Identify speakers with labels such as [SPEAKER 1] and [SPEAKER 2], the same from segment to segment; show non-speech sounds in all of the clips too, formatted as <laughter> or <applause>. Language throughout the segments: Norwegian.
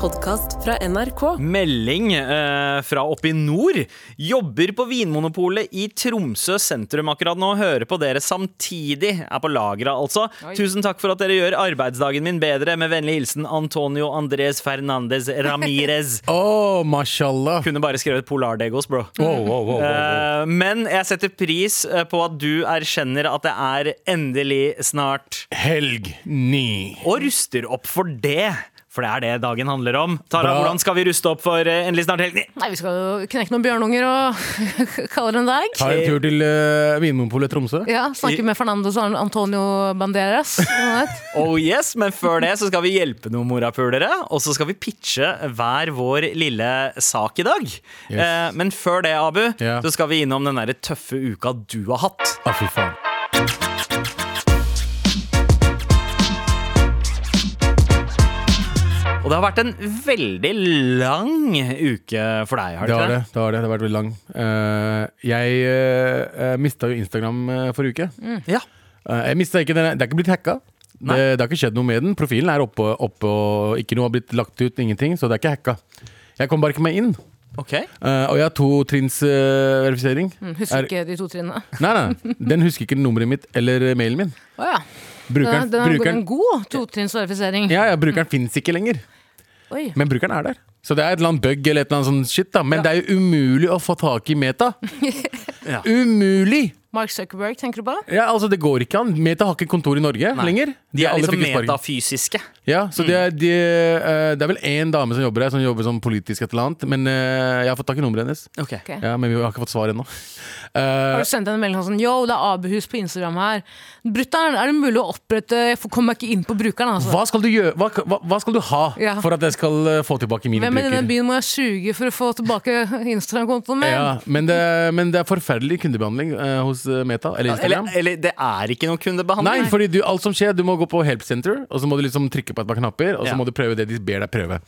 [SPEAKER 1] podkast fra NRK.
[SPEAKER 2] Melding eh, fra oppe i nord. Jobber på Vinmonopolet i Tromsø sentrum akkurat nå. Hører på dere samtidig. Er på lagra, altså. Tusen takk for at dere gjør arbeidsdagen min bedre. Med vennlig hilsen Antonio Andres Fernandez Ramires.
[SPEAKER 3] Åh, mashallah.
[SPEAKER 2] Kunne bare skrevet Polardegos, bro. Eh, men jeg setter pris eh, på at du erkjenner at det er endelig snart,
[SPEAKER 3] Helg ni.
[SPEAKER 2] og ruster opp for det. For det er det dagen handler om. Tara,
[SPEAKER 3] Bra.
[SPEAKER 2] hvordan skal vi ruste opp for eh, endelig snart helg?
[SPEAKER 4] Nei, vi skal jo knekke noen bjørnunger og <laughs> kalle det en dag.
[SPEAKER 3] Ta en tur til uh, Vinmonopolet Tromsø.
[SPEAKER 4] Ja, Snakke med Fernandos og Antonio
[SPEAKER 3] <laughs>
[SPEAKER 4] Banderas.
[SPEAKER 2] Oh yes, Men før det så skal vi hjelpe noen morapulere, og så skal vi pitche hver vår lille sak i dag. Eh, men før det, Abu,
[SPEAKER 3] Ja.
[SPEAKER 2] så skal vi innom den der tøffe uka du har hatt.
[SPEAKER 3] Å, fy faen.
[SPEAKER 2] Og det har vært en veldig lang uke for deg, har
[SPEAKER 3] Det
[SPEAKER 2] det ikke
[SPEAKER 3] var det.
[SPEAKER 2] det?
[SPEAKER 3] Det har det. Det har vært veldig lang. Eh, jeg uh, mista jo Instagram eh, forrige uke.
[SPEAKER 4] Mm.
[SPEAKER 2] Ja.
[SPEAKER 3] Eh, jeg mistet ikke den, Det er ikke blitt hacka. Det,
[SPEAKER 2] Nei.
[SPEAKER 3] det har ikke skjedd noe med den. Profilen er oppe, oppe og ikke noe har blitt lagt ut. Ingenting. Så det er ikke hacka. Jeg kom bare ikke meg inn.
[SPEAKER 2] Ok.
[SPEAKER 3] Eh, og jeg har totrinnsverifisering.
[SPEAKER 4] Mm, Husker ikke de to trinnene.
[SPEAKER 3] Nei, nei, den husker ikke nummeret mitt eller mailen min.
[SPEAKER 4] Å ja. Den er,
[SPEAKER 3] Brukeren,
[SPEAKER 4] den er
[SPEAKER 3] brukeren,
[SPEAKER 4] en god totrinnsverifisering.
[SPEAKER 3] ja, ja, brukeren fins ikke lenger.
[SPEAKER 4] Oi.
[SPEAKER 3] Men brukeren er der. Så det er et eller annet bug eller et eller annet sånn shit, da. Men det er jo umulig å få tak i Meta.
[SPEAKER 2] <laughs> Ja.
[SPEAKER 3] Umulig!
[SPEAKER 4] Mark Zuckerberg, tenker du på?
[SPEAKER 3] Ja, altså Det går ikke an. Meta har ikke kontor i Norge lenger.
[SPEAKER 2] De er
[SPEAKER 3] alle
[SPEAKER 2] liksom Mm.
[SPEAKER 3] fikk sparken.
[SPEAKER 2] metafysiske.
[SPEAKER 3] Ja, så det, er, de, eh, det er vel én dame som jobber her, som jobber som politisk et eller annet. Men eh, jeg har fått tak i nummeret hennes.
[SPEAKER 2] Ok.
[SPEAKER 4] Ok.
[SPEAKER 3] Ja, Men vi har ikke fått svar ennå. Eh,
[SPEAKER 4] Har du sendt en melding sånn Yo, det er Abuhus på Instagram her. Brutter'n, er det mulig å opprette Jeg får- kommer meg ikke inn på brukeren, altså.
[SPEAKER 3] hva, skal du gjøre, hva, hva, hva skal du ha
[SPEAKER 4] Ja.
[SPEAKER 3] for at jeg skal eh, få tilbake mine
[SPEAKER 4] Hvem i denne
[SPEAKER 3] bruker?
[SPEAKER 4] byen må jeg suge for å få tilbake <laughs> Instagram-kontoen min?
[SPEAKER 3] Ja, men, det, men det er forferdelig kundebehandling eh, hos eh, Meta. Eller Instagram.
[SPEAKER 2] Eller, eller det er ikke noe kundebehandling.
[SPEAKER 3] Nei, fordi du, alt som skjer, du må gå på help center, og så må du liksom trykke på et par knapper, og så
[SPEAKER 2] Ja.
[SPEAKER 3] må du prøve det de ber deg prøve.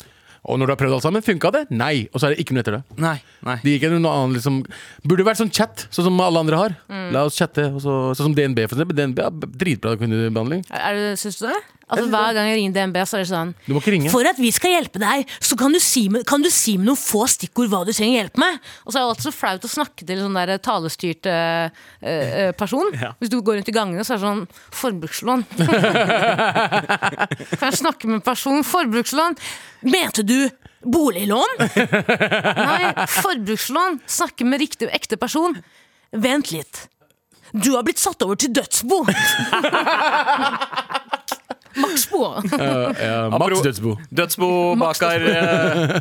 [SPEAKER 3] Og når du har prøvd alt sammen, funka det? Nei. Og så er det ikke noe etter det.
[SPEAKER 2] Nei, nei.
[SPEAKER 3] Det gikk en noe annen liksom Burde vært sånn chat, sånn som alle andre har. La oss chatte. og så, sånn som DNB, for eksempel. DNB er dritbra kundebehandling.
[SPEAKER 4] Er det, syns du det? Altså, hver gang jeg ringer DNB, så er det sånn
[SPEAKER 3] Du må ikke ringe.
[SPEAKER 4] For at vi skal hjelpe deg, så kan du si med, kan du si med noen få stikkord hva du trenger hjelp med. Og så er det alltid så flaut å snakke til en sånn der talestyrt eh, eh, person.
[SPEAKER 2] Ja.
[SPEAKER 4] Hvis du går rundt i gangene, så er det sånn Forbrukslån. kan jeg snakke med en person? Forbrukslån. Mente du boliglån? Nei, forbrukslån. Snakke med riktig ekte person. Vent litt. Du har blitt satt over til dødsbo! Maksbo.
[SPEAKER 3] Ja,
[SPEAKER 2] Apro-
[SPEAKER 3] Max dødsbo.
[SPEAKER 2] Dødsbo, Bakar. eh,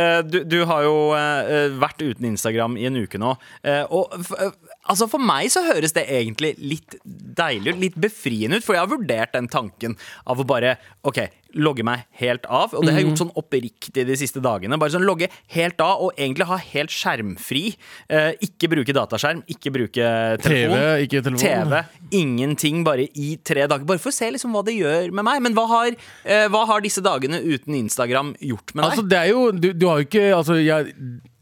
[SPEAKER 2] eh, du, du har jo eh, vært uten Instagram i en uke nå. eh, og f- eh, altså for meg så høres det egentlig litt deilig ut, litt befriende ut. For jeg har vurdert den tanken av å bare OK, logge meg helt av. Og det har jeg gjort sånn oppriktig de siste dagene. Bare sånn logge helt av og egentlig ha helt skjermfri. eh, ikke bruke dataskjerm, ikke bruke
[SPEAKER 3] TV,
[SPEAKER 2] telefon.
[SPEAKER 3] ikke telefon.
[SPEAKER 2] TV, ingenting, bare i tre dager. Bare for å se liksom hva det gjør med meg. Men hva har, eh, hva har disse dagene uten Instagram gjort med deg?
[SPEAKER 3] Altså, det er jo Du, du har jo ikke Altså, jeg,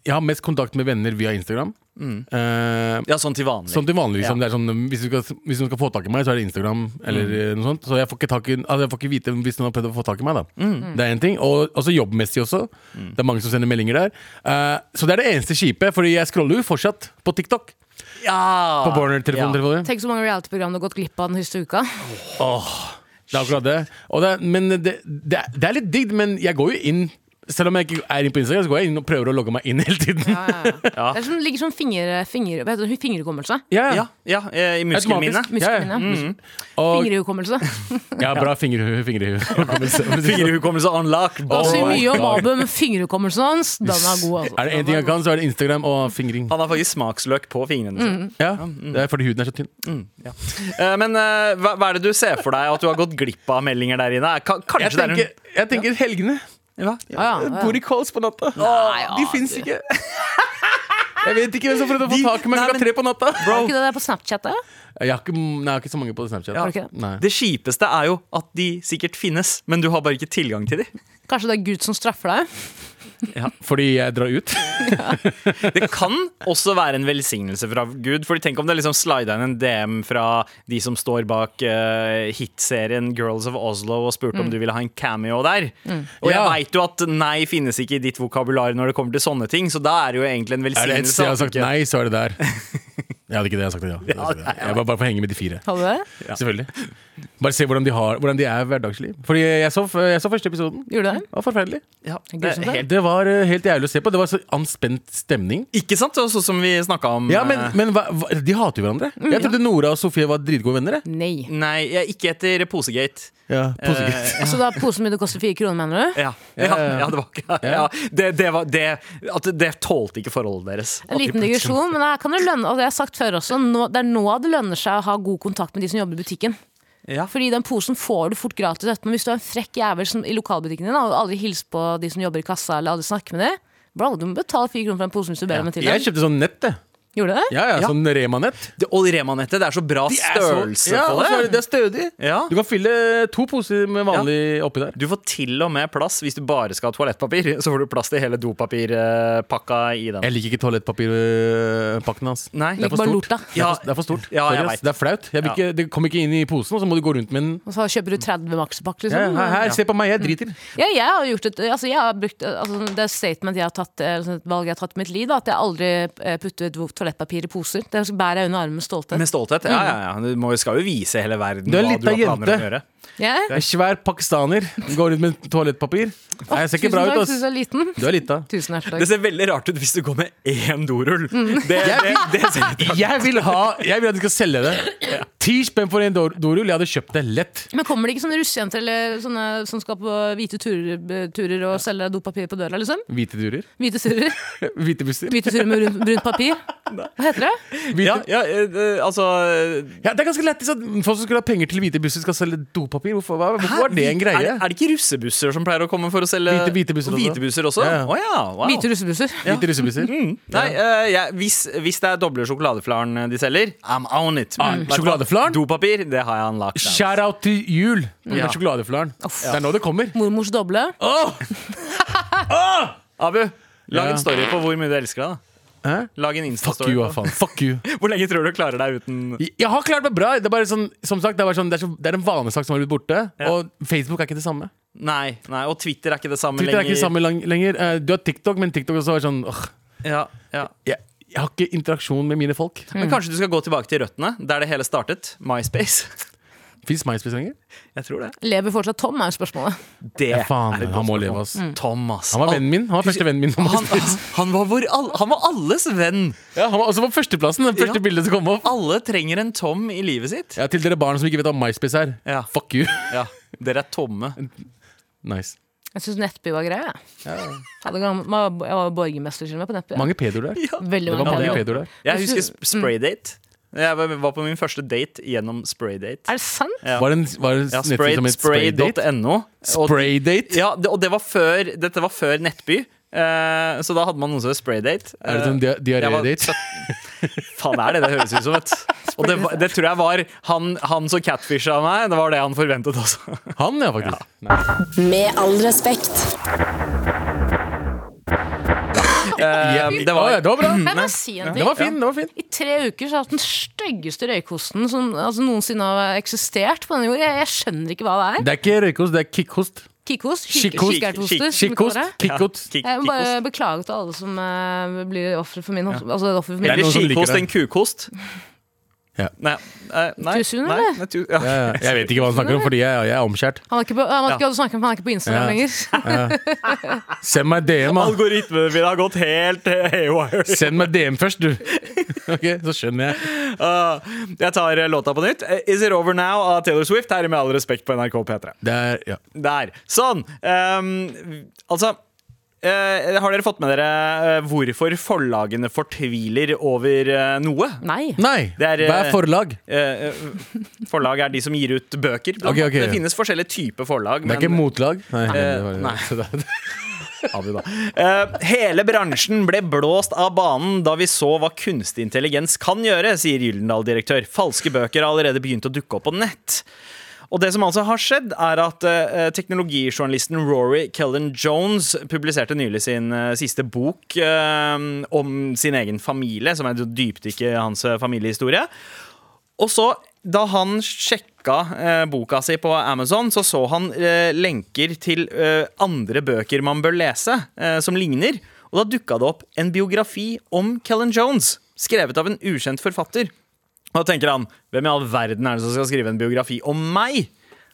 [SPEAKER 3] jeg har mest kontakt med venner via Instagram. Eh,
[SPEAKER 2] ja, sånn til vanlig.
[SPEAKER 3] Sånn til vanlig, liksom.
[SPEAKER 2] Ja.
[SPEAKER 3] det er sånn, hvis, du skal, hvis noen skal få tak i meg, så er det Instagram eller eh, noe sånt. Så jeg får ikke, tak i, altså jeg får ikke vite hvis noen har prøvd å få tak i meg. da Det er en ting, Og også jobbmessig også. Det er mange som sender meldinger der. Eh, så det er det eneste kjipe, Fordi jeg scroller jo fortsatt på TikTok.
[SPEAKER 2] ja.
[SPEAKER 3] På Borner-telefonen.
[SPEAKER 2] Ja.
[SPEAKER 3] telefonen.
[SPEAKER 4] Tenk så mange reality-program du har gått glipp av den siste uka.
[SPEAKER 3] Det er akkurat det. Og det, er- men det, det, er- det er litt digg, men jeg går jo inn. Selv om jeg ikke er inne på Instagram, så går jeg inn og prøver å logge meg inn hele tiden. <laughs> Ja,
[SPEAKER 4] Det er som, ligger sånn finger, finger, hva heter det, fingerhukommelse.
[SPEAKER 2] Ja, Mm. ja, eh, i musklene mine.
[SPEAKER 3] Automatisk. Ja, ja.
[SPEAKER 4] Musklene.
[SPEAKER 2] <laughs>
[SPEAKER 3] Og
[SPEAKER 4] Fingerhukommelse.
[SPEAKER 3] ja, bra fingerhu... Fingerhu. <laughs>
[SPEAKER 2] Fingerhukommelse unlock.
[SPEAKER 4] Da sier
[SPEAKER 3] my
[SPEAKER 4] mye om
[SPEAKER 3] God.
[SPEAKER 4] Abu, men fingerhukommelsen hans, den er god. Altså.
[SPEAKER 3] Er det én ting jeg kan, så er det Instagram og fingring.
[SPEAKER 2] Han har faktisk smaksløk på fingrene sine.
[SPEAKER 3] Ja, mm. det er fordi huden er så tynn.
[SPEAKER 2] Eh, Men eh, hva, hva er det du ser for deg at du har gått glipp av meldinger der inne? Ka- Kanskje
[SPEAKER 3] Jeg tenker, jeg tenker helgene.
[SPEAKER 2] det er en hva?
[SPEAKER 4] Ja, ja, ja.
[SPEAKER 3] Booty calls på natta. de fins ikke. <laughs> Jeg vet ikke hvem som prøvde å få
[SPEAKER 2] De-
[SPEAKER 3] tak i meg
[SPEAKER 2] Nei,
[SPEAKER 3] klokka
[SPEAKER 2] men-
[SPEAKER 3] tre på natta.
[SPEAKER 4] Er ikke det der på Snapchat, da?
[SPEAKER 3] Jeg har ikke, nei, jeg har ikke så mange på Snapchat.
[SPEAKER 2] Ja.
[SPEAKER 4] Har du ikke det?
[SPEAKER 3] Nei.
[SPEAKER 2] Det kjipeste er jo at de sikkert finnes, men du har bare ikke tilgang til dem.
[SPEAKER 4] Kanskje det er Gud som straffer deg?
[SPEAKER 3] Fordi jeg drar <laughs> ut.
[SPEAKER 2] Det kan også være en velsignelse fra Gud. Fordi tenk om det liksom slida inn en DM fra de som står bak eh, hitserien Girls of Oslo og spurte
[SPEAKER 4] Mm.
[SPEAKER 2] om du ville ha en cameo der. Og jeg
[SPEAKER 3] Ja.
[SPEAKER 2] veit jo at nei finnes ikke i ditt vokabular når det kommer til sånne ting, så da er det jo egentlig en
[SPEAKER 3] Er det et
[SPEAKER 2] velsignelse.
[SPEAKER 3] sted jeg har
[SPEAKER 2] at
[SPEAKER 3] sagt
[SPEAKER 2] ikke-
[SPEAKER 3] nei, så er det <laughs> der. Jeg hadde ikke det, jeg hadde sagt det, ja. Jeg, hadde sagt det. jeg var bare for å henge med de fire.
[SPEAKER 4] Hadde du det?
[SPEAKER 3] Selvfølgelig. Bare se hvordan de, har, hvordan de er hverdagslig. Fordi jeg så, jeg så første episoden.
[SPEAKER 4] Gjorde du det?
[SPEAKER 3] Det var forferdelig.
[SPEAKER 2] Ja,
[SPEAKER 4] Gud,
[SPEAKER 2] det
[SPEAKER 4] som
[SPEAKER 2] er
[SPEAKER 4] det.
[SPEAKER 2] helt,
[SPEAKER 3] Det var eh, helt jævlig å se på. Det var så anspent stemning.
[SPEAKER 2] ikke sant? Det var Sånn som vi snakka om
[SPEAKER 3] Ja, men,
[SPEAKER 2] eh,
[SPEAKER 3] men hva, hva, de hater jo hverandre. Jeg trodde Nora og Sofie var dritgode venner. jeg.
[SPEAKER 4] Nei.
[SPEAKER 2] Nei, jeg- ikke etter Posegate.
[SPEAKER 3] Ja, positivt.
[SPEAKER 2] Eh,
[SPEAKER 4] Så da er posen min det koster fire kroner, mener du?
[SPEAKER 2] ja, ja, ja, det var ikke ja, det, det, var, det, at det tålte ikke forholdet deres.
[SPEAKER 4] En liten digresjon, men her kan det lønne, og det har jeg sagt før også, nå, det er nå det lønner seg å ha god kontakt med de som jobber i butikken.
[SPEAKER 2] Ja.
[SPEAKER 4] Fordi den posen får du fort gratis etterpå. Men hvis du er en frekk jævel som, i lokalbutikken din da, og aldri hilser på de som jobber i kassa, eller aldri snakker med dem, bro, du må betale fire kroner for en pose hvis du ber om en
[SPEAKER 3] <laughs>
[SPEAKER 4] til.
[SPEAKER 3] Jeg
[SPEAKER 4] dem.
[SPEAKER 3] kjøpte sånn nett, det.
[SPEAKER 4] Gjorde du det?
[SPEAKER 3] Ja, ja,
[SPEAKER 2] Ja.
[SPEAKER 3] sånn Rema-nett.
[SPEAKER 2] Det- Og Rema-nettet, det er så bra størrelse
[SPEAKER 3] ja,
[SPEAKER 2] på
[SPEAKER 3] og så er
[SPEAKER 2] det.
[SPEAKER 3] det- det er stødig.
[SPEAKER 2] Ja.
[SPEAKER 3] Du kan fylle to poser med vanlig oppi der.
[SPEAKER 2] Du får til og med plass hvis du bare skal ha toalettpapir. Så får du plass til hele dopapirpakka i den.
[SPEAKER 3] Jeg liker ikke toalettpapirpakken hans.
[SPEAKER 2] Nei.
[SPEAKER 3] Det er for
[SPEAKER 4] Bare
[SPEAKER 3] stort.
[SPEAKER 4] lorta.
[SPEAKER 3] Det, er for, det er for stort.
[SPEAKER 2] Ja, jeg
[SPEAKER 3] Sorry, ass.
[SPEAKER 2] vet.
[SPEAKER 3] det er flaut. Jeg vil
[SPEAKER 2] Ja.
[SPEAKER 3] ikke, det kommer ikke inn i posen, og så må du gå rundt med den.
[SPEAKER 4] Og så kjøper du 30 makspakke,
[SPEAKER 3] Ja,
[SPEAKER 4] liksom.
[SPEAKER 3] her, her, se på meg, jeg driter.
[SPEAKER 4] Ja, jeg har gjort et, altså jeg har brukt, altså det er statement jeg har tatt, eller sånn et valg jeg har tatt i mitt liv, da, at jeg aldri eh, putter ut toalettpapir i poser. Det bærer jeg under armen med stolthet.
[SPEAKER 2] Med stolthet. Ja, ja, ja. Du må, skal jo vise hele verden
[SPEAKER 3] Du er
[SPEAKER 2] hva
[SPEAKER 3] litt
[SPEAKER 2] du har
[SPEAKER 3] av
[SPEAKER 2] planer om å
[SPEAKER 3] jente.
[SPEAKER 2] gjøre.
[SPEAKER 4] Jeg?
[SPEAKER 3] Jeg er svær pakistaner, går rundt med toalettpapir. Nei, jeg ser ikke
[SPEAKER 4] Tusen
[SPEAKER 3] bra ut,
[SPEAKER 4] takk,
[SPEAKER 3] ass.
[SPEAKER 4] synes jeg er liten.
[SPEAKER 3] Du er lita.
[SPEAKER 4] Tusen hjertelig
[SPEAKER 2] Det
[SPEAKER 4] takk.
[SPEAKER 2] ser veldig rart ut hvis du går med én dorull. Det, det, det ser litt rart ut.
[SPEAKER 3] Jeg vil, ha, jeg vil at de skal selge det. Ti spenn for en dor- dorull, jeg hadde kjøpt det lett.
[SPEAKER 4] Men kommer det ikke sånne russejenter eller sånne som skal på hvite turer, turer og selger dopapir på døra, liksom?
[SPEAKER 3] Hvite durer.
[SPEAKER 4] Hvite turer,
[SPEAKER 3] Hvite busser.
[SPEAKER 4] hvite turer med brunt, brunt papir. Hva heter det?
[SPEAKER 3] Hvite.
[SPEAKER 2] Ja, ja, eh, eh, altså
[SPEAKER 3] Ja, det er ganske lett at folk som skulle ha penger til hvite busser, skal selge dopapir. Hvorfor, hva, hvorfor var det en
[SPEAKER 2] Er,
[SPEAKER 3] greie?
[SPEAKER 2] det- er det ikke russebusser som pleier å komme for å selge
[SPEAKER 3] Hvite- hvite busser også.
[SPEAKER 2] Hvite busser også?
[SPEAKER 3] Ja, ja.
[SPEAKER 2] Å ja, wow.
[SPEAKER 4] Hvite russebusser.
[SPEAKER 3] Hvite russebusser.
[SPEAKER 2] Nei, eh, jeg, hvis, hvis det er doble sjokoladeflaren de selger, I'm on it.
[SPEAKER 3] Ah,
[SPEAKER 2] Vet du hva?
[SPEAKER 3] sjokoladeflaren?
[SPEAKER 2] Dopapir, det har jeg unlocked.
[SPEAKER 3] Shout out til jul med
[SPEAKER 2] Ja.
[SPEAKER 3] sjokoladeflaren. Det er nå det kommer.
[SPEAKER 4] Mormors doble.
[SPEAKER 3] Åh!
[SPEAKER 2] Abu, lag
[SPEAKER 3] Ja.
[SPEAKER 2] en story på hvor mye du elsker deg. da.
[SPEAKER 3] Hæ?
[SPEAKER 2] Lag en
[SPEAKER 3] Fuck
[SPEAKER 2] Insta-story.
[SPEAKER 3] you, hva
[SPEAKER 2] på-
[SPEAKER 3] faen. Fuck you.
[SPEAKER 2] Hvor lenge tror du du klarer deg uten
[SPEAKER 3] Jeg har klart meg bra. Det er bare sånn, som sagt, det er, bare sånn, det er, så, det er en vanesak som har blitt borte.
[SPEAKER 2] Ja.
[SPEAKER 3] Og Facebook er ikke det samme.
[SPEAKER 2] Nei, nei, og Twitter er ikke det samme
[SPEAKER 3] Twitter er
[SPEAKER 2] lenger.
[SPEAKER 3] ikke det samme lang, lenger. Eh, Du har TikTok, men TikTok også er sånn åh,
[SPEAKER 2] Ja, ja.
[SPEAKER 3] jeg, jeg har ikke interaksjon med mine folk.
[SPEAKER 2] Men kanskje du skal gå tilbake til røttene, der det hele startet. MySpace. <laughs>
[SPEAKER 3] Fins MySpace lenger?
[SPEAKER 2] Jeg tror det.
[SPEAKER 4] Lever fortsatt Tom, er jo spørsmålet.
[SPEAKER 2] Det
[SPEAKER 3] Ja, faen,
[SPEAKER 2] er et
[SPEAKER 3] han
[SPEAKER 2] godt
[SPEAKER 3] må
[SPEAKER 2] spørsmål.
[SPEAKER 3] leve, ass.
[SPEAKER 2] Thomas.
[SPEAKER 3] Han var vennen min. Han var første vennen min. på
[SPEAKER 2] Han,
[SPEAKER 3] MySpace.
[SPEAKER 2] han, var vår, all- han var alles venn.
[SPEAKER 3] Ja, han var også på førsteplassen. Det første
[SPEAKER 2] Ja.
[SPEAKER 3] bildet som kom opp.
[SPEAKER 2] Alle trenger en Tom i livet sitt.
[SPEAKER 3] Ja, til dere barn som ikke vet hva MySpace er.
[SPEAKER 2] Ja.
[SPEAKER 3] Fuck you. <laughs>
[SPEAKER 2] Ja, Dere er tomme.
[SPEAKER 3] Nice.
[SPEAKER 4] Jeg syns Nettby var grei. jeg. Hadde gammel- Jeg var borgermester til og med på Nettby.
[SPEAKER 3] Mange pedoer der.
[SPEAKER 2] Ja.
[SPEAKER 4] Veldig
[SPEAKER 3] Det var
[SPEAKER 4] mange
[SPEAKER 3] mange
[SPEAKER 2] ja.
[SPEAKER 4] pedoer.
[SPEAKER 3] pedoer der.
[SPEAKER 2] Jeg husker sp-
[SPEAKER 3] Mm.
[SPEAKER 2] spraydate. Jeg var var på min første date gjennom spraydate.
[SPEAKER 4] Er det sant?
[SPEAKER 2] Ja.
[SPEAKER 3] Var det en, var det en
[SPEAKER 2] Ja,
[SPEAKER 3] nettside
[SPEAKER 2] spray.no.
[SPEAKER 3] som het Spraydate?
[SPEAKER 2] eh, og, <laughs>
[SPEAKER 3] Spraydate?
[SPEAKER 2] ja, det, og det var før, dette var før Nettby. eh, så da hadde man noen som het spraydate. Eh,
[SPEAKER 3] Er det sånn dia-
[SPEAKER 2] jeg var
[SPEAKER 3] diaré-date?
[SPEAKER 2] <laughs> Faen, er det det høres ut som?
[SPEAKER 3] <laughs>
[SPEAKER 2] Vet. du. Og det, var- det tror jeg var han, han som catfisha meg. Det var det han forventet også. <laughs>
[SPEAKER 3] Han, ja, faktisk.
[SPEAKER 1] Med all respekt.
[SPEAKER 3] Ja,
[SPEAKER 2] det var- Mm.
[SPEAKER 3] Å, ja, det var bra.
[SPEAKER 4] Kan jeg bare si en
[SPEAKER 3] Det
[SPEAKER 4] ting?
[SPEAKER 3] var fin. det var fin
[SPEAKER 4] I tre uker så har jeg hatt den styggeste røykosten som altså, noensinne har eksistert på denne jord. Jeg, jeg skjønner ikke hva det er.
[SPEAKER 3] Det er ikke røykost, det er kickhost.
[SPEAKER 4] Kikkost?
[SPEAKER 3] Kikkost.
[SPEAKER 4] Kikkertoster? som vi kaller
[SPEAKER 3] Kikkhost.
[SPEAKER 4] det.
[SPEAKER 3] Kikkhost.
[SPEAKER 2] Kik-
[SPEAKER 4] Jeg må
[SPEAKER 2] kikkost.
[SPEAKER 4] bare beklage til alle som eh, blir ofre for min Altså offer for min
[SPEAKER 3] Det er
[SPEAKER 2] Eller
[SPEAKER 3] noen som liker
[SPEAKER 2] skikost
[SPEAKER 3] det.
[SPEAKER 2] enn kukost.
[SPEAKER 3] Ja.
[SPEAKER 2] Nei, eh, nei,
[SPEAKER 4] Tusen,
[SPEAKER 2] nei,
[SPEAKER 4] eller?
[SPEAKER 2] nei, tu- ja.
[SPEAKER 3] Ja, ja. jeg vet ikke hva han snakker om, fordi jeg, jeg er omskjært.
[SPEAKER 4] Han er ikke på, han er
[SPEAKER 2] Ja.
[SPEAKER 4] ikke, hva du snakker om, han er ikke på Instagram
[SPEAKER 3] Ja.
[SPEAKER 4] lenger.
[SPEAKER 3] Send meg DM, da.
[SPEAKER 2] Algoritmene mine har gått helt <laughs> eh, haywire.
[SPEAKER 3] Send meg DM først, du. <laughs> Ok, Så skjønner jeg.
[SPEAKER 2] Ah, jeg tar eh, låta på nytt. Eh, Is It Over Now av Taylor Swift her i Med all respekt på NRK P3.
[SPEAKER 3] Det er, ja.
[SPEAKER 2] Der. Sånn. Ehm, altså eh, har dere fått med dere eh, hvorfor forlagene fortviler over eh, noe?
[SPEAKER 4] Nei.
[SPEAKER 3] Nei,
[SPEAKER 2] Det er, eh,
[SPEAKER 3] hva er forlag?
[SPEAKER 2] Eh, eh, forlag er de som gir ut bøker.
[SPEAKER 3] Ok, ok.
[SPEAKER 2] Det finnes forskjellige typer forlag.
[SPEAKER 3] <laughs> Det er ikke motlag? Nei.
[SPEAKER 2] Eh, nei.
[SPEAKER 3] det var-
[SPEAKER 2] Abu, da. Eh, hele bransjen ble blåst av banen da vi så hva kunstig intelligens kan gjøre, sier Gyldendal-direktør. Falske bøker har allerede begynt å dukke opp på nett. Og det som altså har skjedd, er at eh, teknologijournalisten Rory Kellen Jones publiserte nylig sin eh, siste bok eh, om sin egen familie, som er et dypdykk i hans eh, familiehistorie. Og så, da han sjekka eh, boka si på Amazon, så så han eh, lenker til eh, andre bøker man bør lese, eh, som ligner. Og da dukka det opp en biografi om Kellen Jones, skrevet av en ukjent forfatter. Og da tenker han hvem i all verden er det som skal skrive en biografi om meg?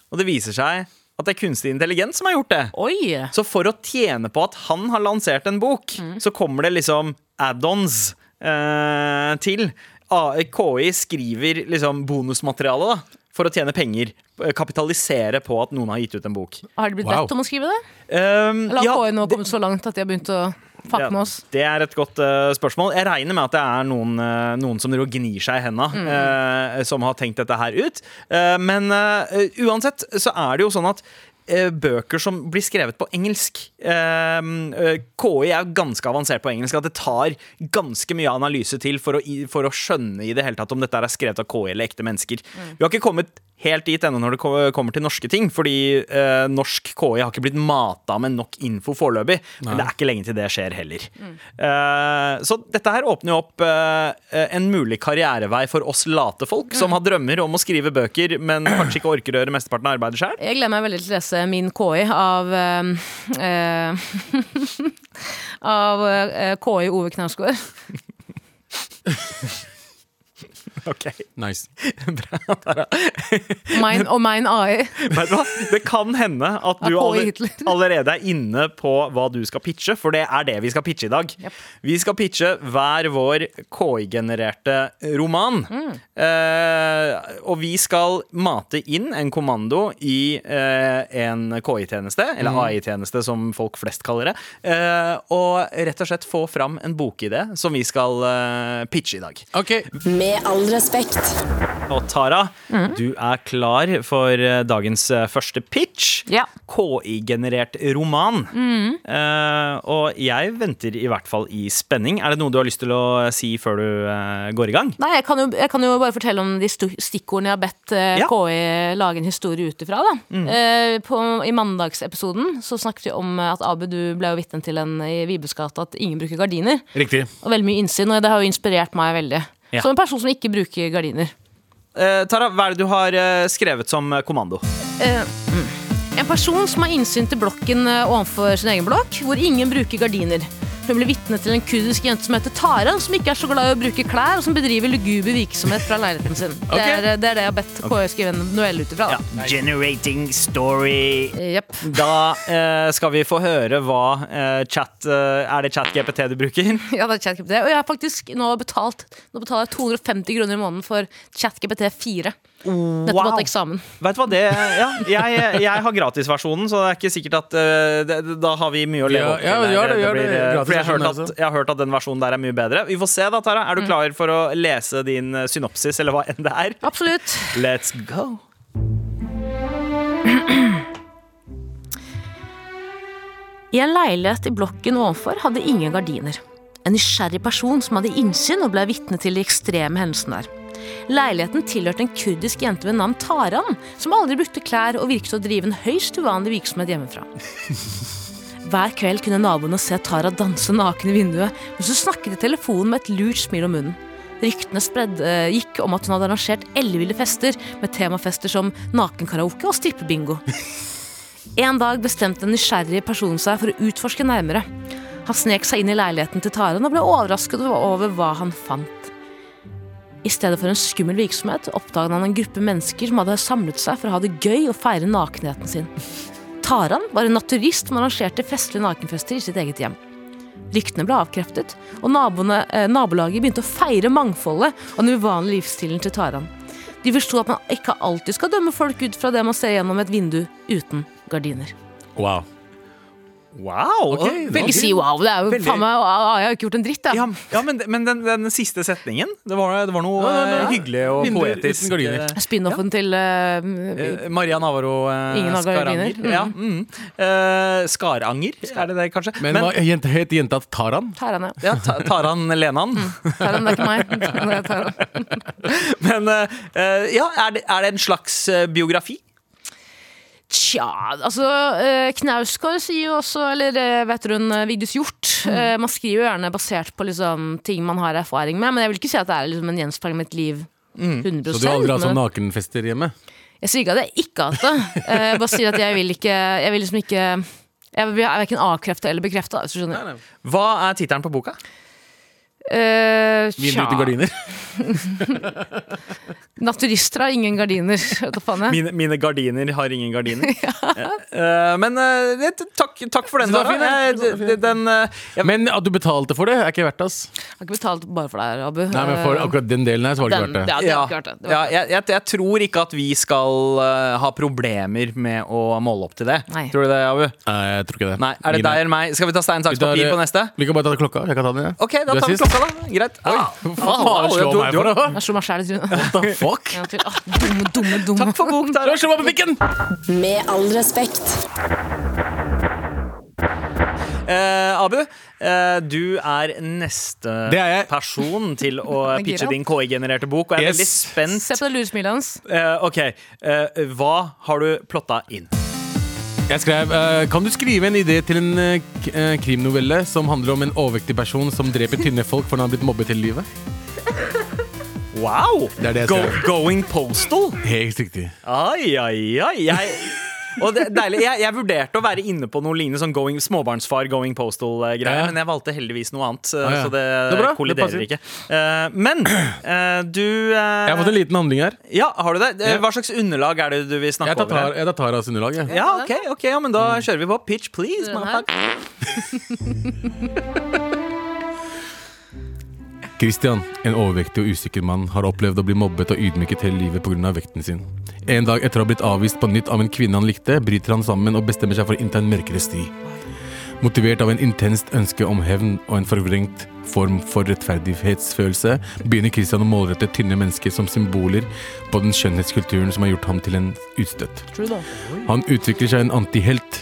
[SPEAKER 2] Og det viser seg at det er kunstig intelligens som har gjort det.
[SPEAKER 4] Oi!
[SPEAKER 2] Så for å tjene på at han har lansert en bok,
[SPEAKER 4] Mm.
[SPEAKER 2] så kommer det liksom add-ons eh, til. A- KI skriver liksom bonusmateriale da, for å tjene penger. eh, Kapitalisere på at noen har gitt ut en bok.
[SPEAKER 4] Har de blitt
[SPEAKER 3] Wow.
[SPEAKER 4] bedt om å skrive det?
[SPEAKER 2] Um,
[SPEAKER 4] Eller har
[SPEAKER 2] ja,
[SPEAKER 4] KI nå kommet så langt at de har begynt å fucke med oss?
[SPEAKER 2] ja, det er et godt eh, spørsmål. Jeg regner med at det er noen, eh, noen som driver og gnir seg i henda,
[SPEAKER 4] Mm.
[SPEAKER 2] eh, som har tenkt dette her ut. Eh, men eh, uansett så er det jo sånn at eh, Bøker som blir skrevet på engelsk eh, eh, KI er jo ganske avansert på engelsk. At det tar ganske mye analyse til for å, i- for å skjønne i det hele tatt om dette her er skrevet av KI eller ekte mennesker. Vi har ikke kommet helt dit ennå når det ko- kommer til norske ting, fordi eh, norsk KI har ikke blitt mata med nok info foreløpig. Men det er ikke lenge til det skjer heller. Eh, så dette her åpner jo opp eh, en mulig karrierevei for oss late folk som har drømmer om å skrive bøker, men kanskje ikke orker å gjøre mesteparten av arbeidet sjøl.
[SPEAKER 4] Jeg gleder meg veldig til å lese min KI av eh, eh, <laughs> Av eh, KI Ove Knausgård.
[SPEAKER 3] Nice.
[SPEAKER 4] Mine og mine AI.
[SPEAKER 2] Vet du hva? Det kan hende at du
[SPEAKER 4] Av K.I.
[SPEAKER 2] aller-
[SPEAKER 4] Hitler.
[SPEAKER 2] allerede er inne på hva du skal pitche, for det er det vi skal pitche i dag. Vi skal pitche hver vår KI-genererte roman. Eh, og vi skal mate inn en kommando i eh, en KI-tjeneste, eller
[SPEAKER 4] Mm.
[SPEAKER 2] AI-tjeneste som folk flest kaller det, eh, og rett og slett få fram en bokidé som vi skal eh, pitche i dag.
[SPEAKER 3] Ok,
[SPEAKER 1] Med all respekt.
[SPEAKER 2] Og Tara, du er klar for eh, dagens eh, første pitch.
[SPEAKER 4] Ja.
[SPEAKER 2] KI-generert roman. Eh, og jeg venter i hvert fall i spenning. Er det noe du har lyst til å si før du eh, går i gang?
[SPEAKER 4] Nei, jeg kan, jo, jeg kan jo bare fortelle om de sto- stikkordene jeg har bedt eh,
[SPEAKER 2] Ja. Mm.
[SPEAKER 4] KI lage en historie ut ifra. da. Eh, på, I mandagsepisoden så snakket vi om at Abu, du ble jo vitne til en i Vibes gate at ingen bruker gardiner.
[SPEAKER 3] Riktig.
[SPEAKER 4] Og veldig mye innsyn, og det har jo inspirert meg veldig.
[SPEAKER 2] Ja.
[SPEAKER 4] Som en person som ikke bruker gardiner.
[SPEAKER 2] Eh, Tara, hva er det du har eh, skrevet som eh, kommando?
[SPEAKER 4] En person som har innsyn til blokken eh, ovenfor sin egen blokk, hvor ingen bruker gardiner. Hun blir vitne til en kurdisk jente som heter Tara, som ikke er så glad i å bruke klær, og som bedriver luguber virksomhet fra leiligheten sin.
[SPEAKER 2] Ok.
[SPEAKER 4] Det, er, eh, det er det jeg har bedt KI skrive en novelle ut ifra. da.
[SPEAKER 2] Generating story.
[SPEAKER 4] Jepp.
[SPEAKER 2] Da eh, skal vi få høre hva eh, chat eh, Er det chat-GPT du bruker?
[SPEAKER 4] <laughs> Ja, det er ChatGPT. Og jeg har faktisk nå betalt Nå betaler jeg 250 kroner i måneden for ChatGPT4. Nettopp
[SPEAKER 2] Wow.
[SPEAKER 4] hatt eksamen.
[SPEAKER 2] Vet du hva det Ja, jeg, jeg har gratisversjonen, så det er ikke sikkert at eh, det, Da har vi mye å leve
[SPEAKER 3] Ja,
[SPEAKER 2] opp til.
[SPEAKER 3] ja,
[SPEAKER 2] der.
[SPEAKER 3] gjør det, gjør det.
[SPEAKER 2] eh, for jeg har, hørt
[SPEAKER 3] Gratisversjonen, Mm.
[SPEAKER 2] at, jeg har hørt at den versjonen der er mye bedre. Vi får se, da, Tara. Er du klar for å lese din eh, synopsis, eller hva enn det er?
[SPEAKER 4] Absolutt.
[SPEAKER 2] Let's go.
[SPEAKER 4] I en leilighet i blokken ovenfor hadde ingen gardiner. En nysgjerrig person som hadde innsyn og ble vitne til de ekstreme hendelsene der. Leiligheten tilhørte en kurdisk jente ved navn Taran, som aldri brukte klær og virket å drive en høyst uvanlig virksomhet hjemmefra. Hver kveld kunne naboene se Tara danse naken i vinduet mens hun snakket i telefonen med et lurt smil om munnen. Ryktene spredde, eh, gikk om at hun hadde arrangert elleville fester med temafester som nakenkaraoke og strippebingo. En dag bestemte en nysgjerrig person seg for å utforske nærmere. Han snek seg inn i leiligheten til Taran og ble overrasket over hva han fant. I stedet for en skummel virksomhet oppdaget han en gruppe mennesker som hadde samlet seg for å ha det gøy og feire nakenheten sin. Taran var en naturist som arrangerte festlige nakenfester i sitt eget hjem. Ryktene ble avkreftet, og naboene, eh, nabolaget begynte å feire mangfoldet og den uvanlige livsstilen til Taran. De forsto at man ikke alltid skal dømme folk ut fra det man ser gjennom et vindu uten gardiner.
[SPEAKER 3] Wow.
[SPEAKER 2] Wow!
[SPEAKER 3] Ok,
[SPEAKER 2] Veldig-
[SPEAKER 4] Ikke si wow, det er jo
[SPEAKER 2] Veldig-
[SPEAKER 4] faen meg ah, Jeg har jo ikke gjort en dritt, jeg.
[SPEAKER 2] Ja, ja, men, men den, den siste setningen, det var, det var noe eh, hyggelig og
[SPEAKER 3] Vindu uten
[SPEAKER 2] poetisk.
[SPEAKER 3] gardiner.
[SPEAKER 2] eh,
[SPEAKER 4] Spin-offen til eh,
[SPEAKER 2] eh, Maria Navarro eh,
[SPEAKER 4] Ingen har
[SPEAKER 2] Skaranger.
[SPEAKER 4] gardiner.
[SPEAKER 2] Ja, mm. Eh, Skaranger, er det det kanskje?
[SPEAKER 3] Men, hva jente, het jenta Taran?
[SPEAKER 4] Taran, ja.
[SPEAKER 2] ja, Ta- Taran Lenan.
[SPEAKER 3] <laughs>
[SPEAKER 4] Taran, det er ikke meg. <laughs> Det er Taran.
[SPEAKER 2] Men eh, eh, ja, er det, er det en slags eh, biografi?
[SPEAKER 4] Tja, altså eh, Knausgård sier jo også, eller eh, vet du hun, eh, Vigdis Hjort
[SPEAKER 2] Mm.
[SPEAKER 4] eh, Man skriver jo gjerne basert på liksom, ting man har erfaring med, men jeg vil ikke si at det er liksom, en gjenspeiling av mitt liv.
[SPEAKER 2] Mm.
[SPEAKER 4] 100
[SPEAKER 3] Så du har aldri hatt sånn
[SPEAKER 4] men
[SPEAKER 3] nakenfester hjemme?
[SPEAKER 4] Jeg sier ikke at jeg ikke har hatt det. Eh, Jeg bare sier at jeg vil ikke Jeg vil liksom ikke Jeg vil- jeg er verken avkrefta eller bekrefta, hvis du skjønner.
[SPEAKER 2] Hva er tittelen på boka?
[SPEAKER 4] Eh,
[SPEAKER 3] Vindu uten
[SPEAKER 4] tja.
[SPEAKER 3] gardiner?
[SPEAKER 4] Naturister har ingen gardiner. <laughs> Hva faen jeg?
[SPEAKER 2] <laughs> Mine, mine gardiner har ingen
[SPEAKER 4] <laughs>
[SPEAKER 2] gardiner. Ja. Eh, men eh, det- takk, takk for den,
[SPEAKER 3] Så det var
[SPEAKER 2] Dara.
[SPEAKER 3] fin, ja.
[SPEAKER 2] Jeg- det- det- den, eh, jeg-
[SPEAKER 3] Men at du betalte for det, er ikke verdt det. ass.
[SPEAKER 4] Jeg har ikke betalt bare for deg, Abu.
[SPEAKER 3] Nei, men for
[SPEAKER 4] Eh,
[SPEAKER 3] akkurat den delen her, så var det
[SPEAKER 4] den,
[SPEAKER 3] ikke verdt det.
[SPEAKER 4] ja, det
[SPEAKER 2] ja,
[SPEAKER 4] har ikke vært det. det
[SPEAKER 2] ja,
[SPEAKER 4] var,
[SPEAKER 2] jeg, jeg, jeg tror ikke at vi skal eh, ha problemer med å måle opp til det.
[SPEAKER 4] Nei.
[SPEAKER 2] Tror du det, Abu?
[SPEAKER 3] Nei, jeg tror ikke det.
[SPEAKER 2] Nei, Er det
[SPEAKER 3] Ingen
[SPEAKER 2] deg eller meg? Skal vi ta stein, saks,
[SPEAKER 3] Vi tar,
[SPEAKER 2] papir på
[SPEAKER 3] eh,
[SPEAKER 2] neste?
[SPEAKER 3] Vi kan bare ta klokka. Jeg kan ta den, jeg.
[SPEAKER 2] Ok, da
[SPEAKER 3] Du er
[SPEAKER 2] tar vi
[SPEAKER 3] sist.
[SPEAKER 2] klokka, da. Greit. Ah,
[SPEAKER 3] faen, slå
[SPEAKER 2] du-
[SPEAKER 3] meg
[SPEAKER 2] du-
[SPEAKER 3] for
[SPEAKER 4] Jeg slo meg sjæl
[SPEAKER 2] <laughs>
[SPEAKER 4] i trynet.
[SPEAKER 3] What the fuck?
[SPEAKER 4] liksom. En gang til. Ah, Dumme, dumme, dumme.
[SPEAKER 2] Takk for bok,
[SPEAKER 3] Du
[SPEAKER 2] Dara.
[SPEAKER 3] har slått meg på pikken!
[SPEAKER 1] Med all respekt.
[SPEAKER 2] Eh, Abu, eh, du er neste
[SPEAKER 3] Det er jeg.
[SPEAKER 2] person til
[SPEAKER 3] <laughs>
[SPEAKER 2] å
[SPEAKER 4] Jeg er
[SPEAKER 2] pitche
[SPEAKER 4] gira.
[SPEAKER 2] din KI-genererte bok, og jeg er
[SPEAKER 3] Yes.
[SPEAKER 2] veldig spent
[SPEAKER 4] Se på det lure smilet hans.
[SPEAKER 2] Eh, ok, eh, hva har du plotta inn?
[SPEAKER 3] Jeg skrev eh, Kan du skrive en idé til en eh, k- eh, krimnovelle som handler om en overvektig person som dreper tynne folk fordi han har blitt mobbet hele livet?
[SPEAKER 2] Wow!
[SPEAKER 3] Det er det jeg
[SPEAKER 2] Go,
[SPEAKER 3] skrev.
[SPEAKER 2] going postal?
[SPEAKER 3] Helt riktig.
[SPEAKER 2] Ai, ai, ai. Jeg, og det, er deilig, jeg, jeg vurderte å være inne på noe lignende sånn going, småbarnsfar, going postal-greier,
[SPEAKER 3] Ja, ja.
[SPEAKER 2] men jeg valgte heldigvis noe annet, eh,
[SPEAKER 3] Ah, ja.
[SPEAKER 2] så det,
[SPEAKER 3] Det er bra, det
[SPEAKER 2] kolliderer
[SPEAKER 3] passer.
[SPEAKER 2] ikke. Eh, men eh, du eh,
[SPEAKER 3] Jeg har fått en liten handling her.
[SPEAKER 2] Ja, har du det? Eh,
[SPEAKER 3] Ja.
[SPEAKER 2] Hva slags underlag er det du vil snakke
[SPEAKER 3] Jeg tar,
[SPEAKER 2] over? her?
[SPEAKER 3] tar, jeg tar Taras underlag. Jeg.
[SPEAKER 2] Ja, ok, ok, ja, men da kjører vi på. Pitch, please.
[SPEAKER 4] Den her.
[SPEAKER 2] motherfucker.
[SPEAKER 3] Christian, en overvektig og usikker mann, har opplevd å bli mobbet og ydmyket hele livet pga. vekten sin. En dag etter å ha blitt avvist på nytt av en kvinne han likte, bryter han sammen og bestemmer seg for å innta en mørkere sti. Motivert av en intenst ønske om hevn og en forvrengt form for rettferdighetsfølelse, begynner Christian å målrette tynne mennesker som symboler på den skjønnhetskulturen som har gjort ham til en utstøtt. Han utvikler seg en antihelt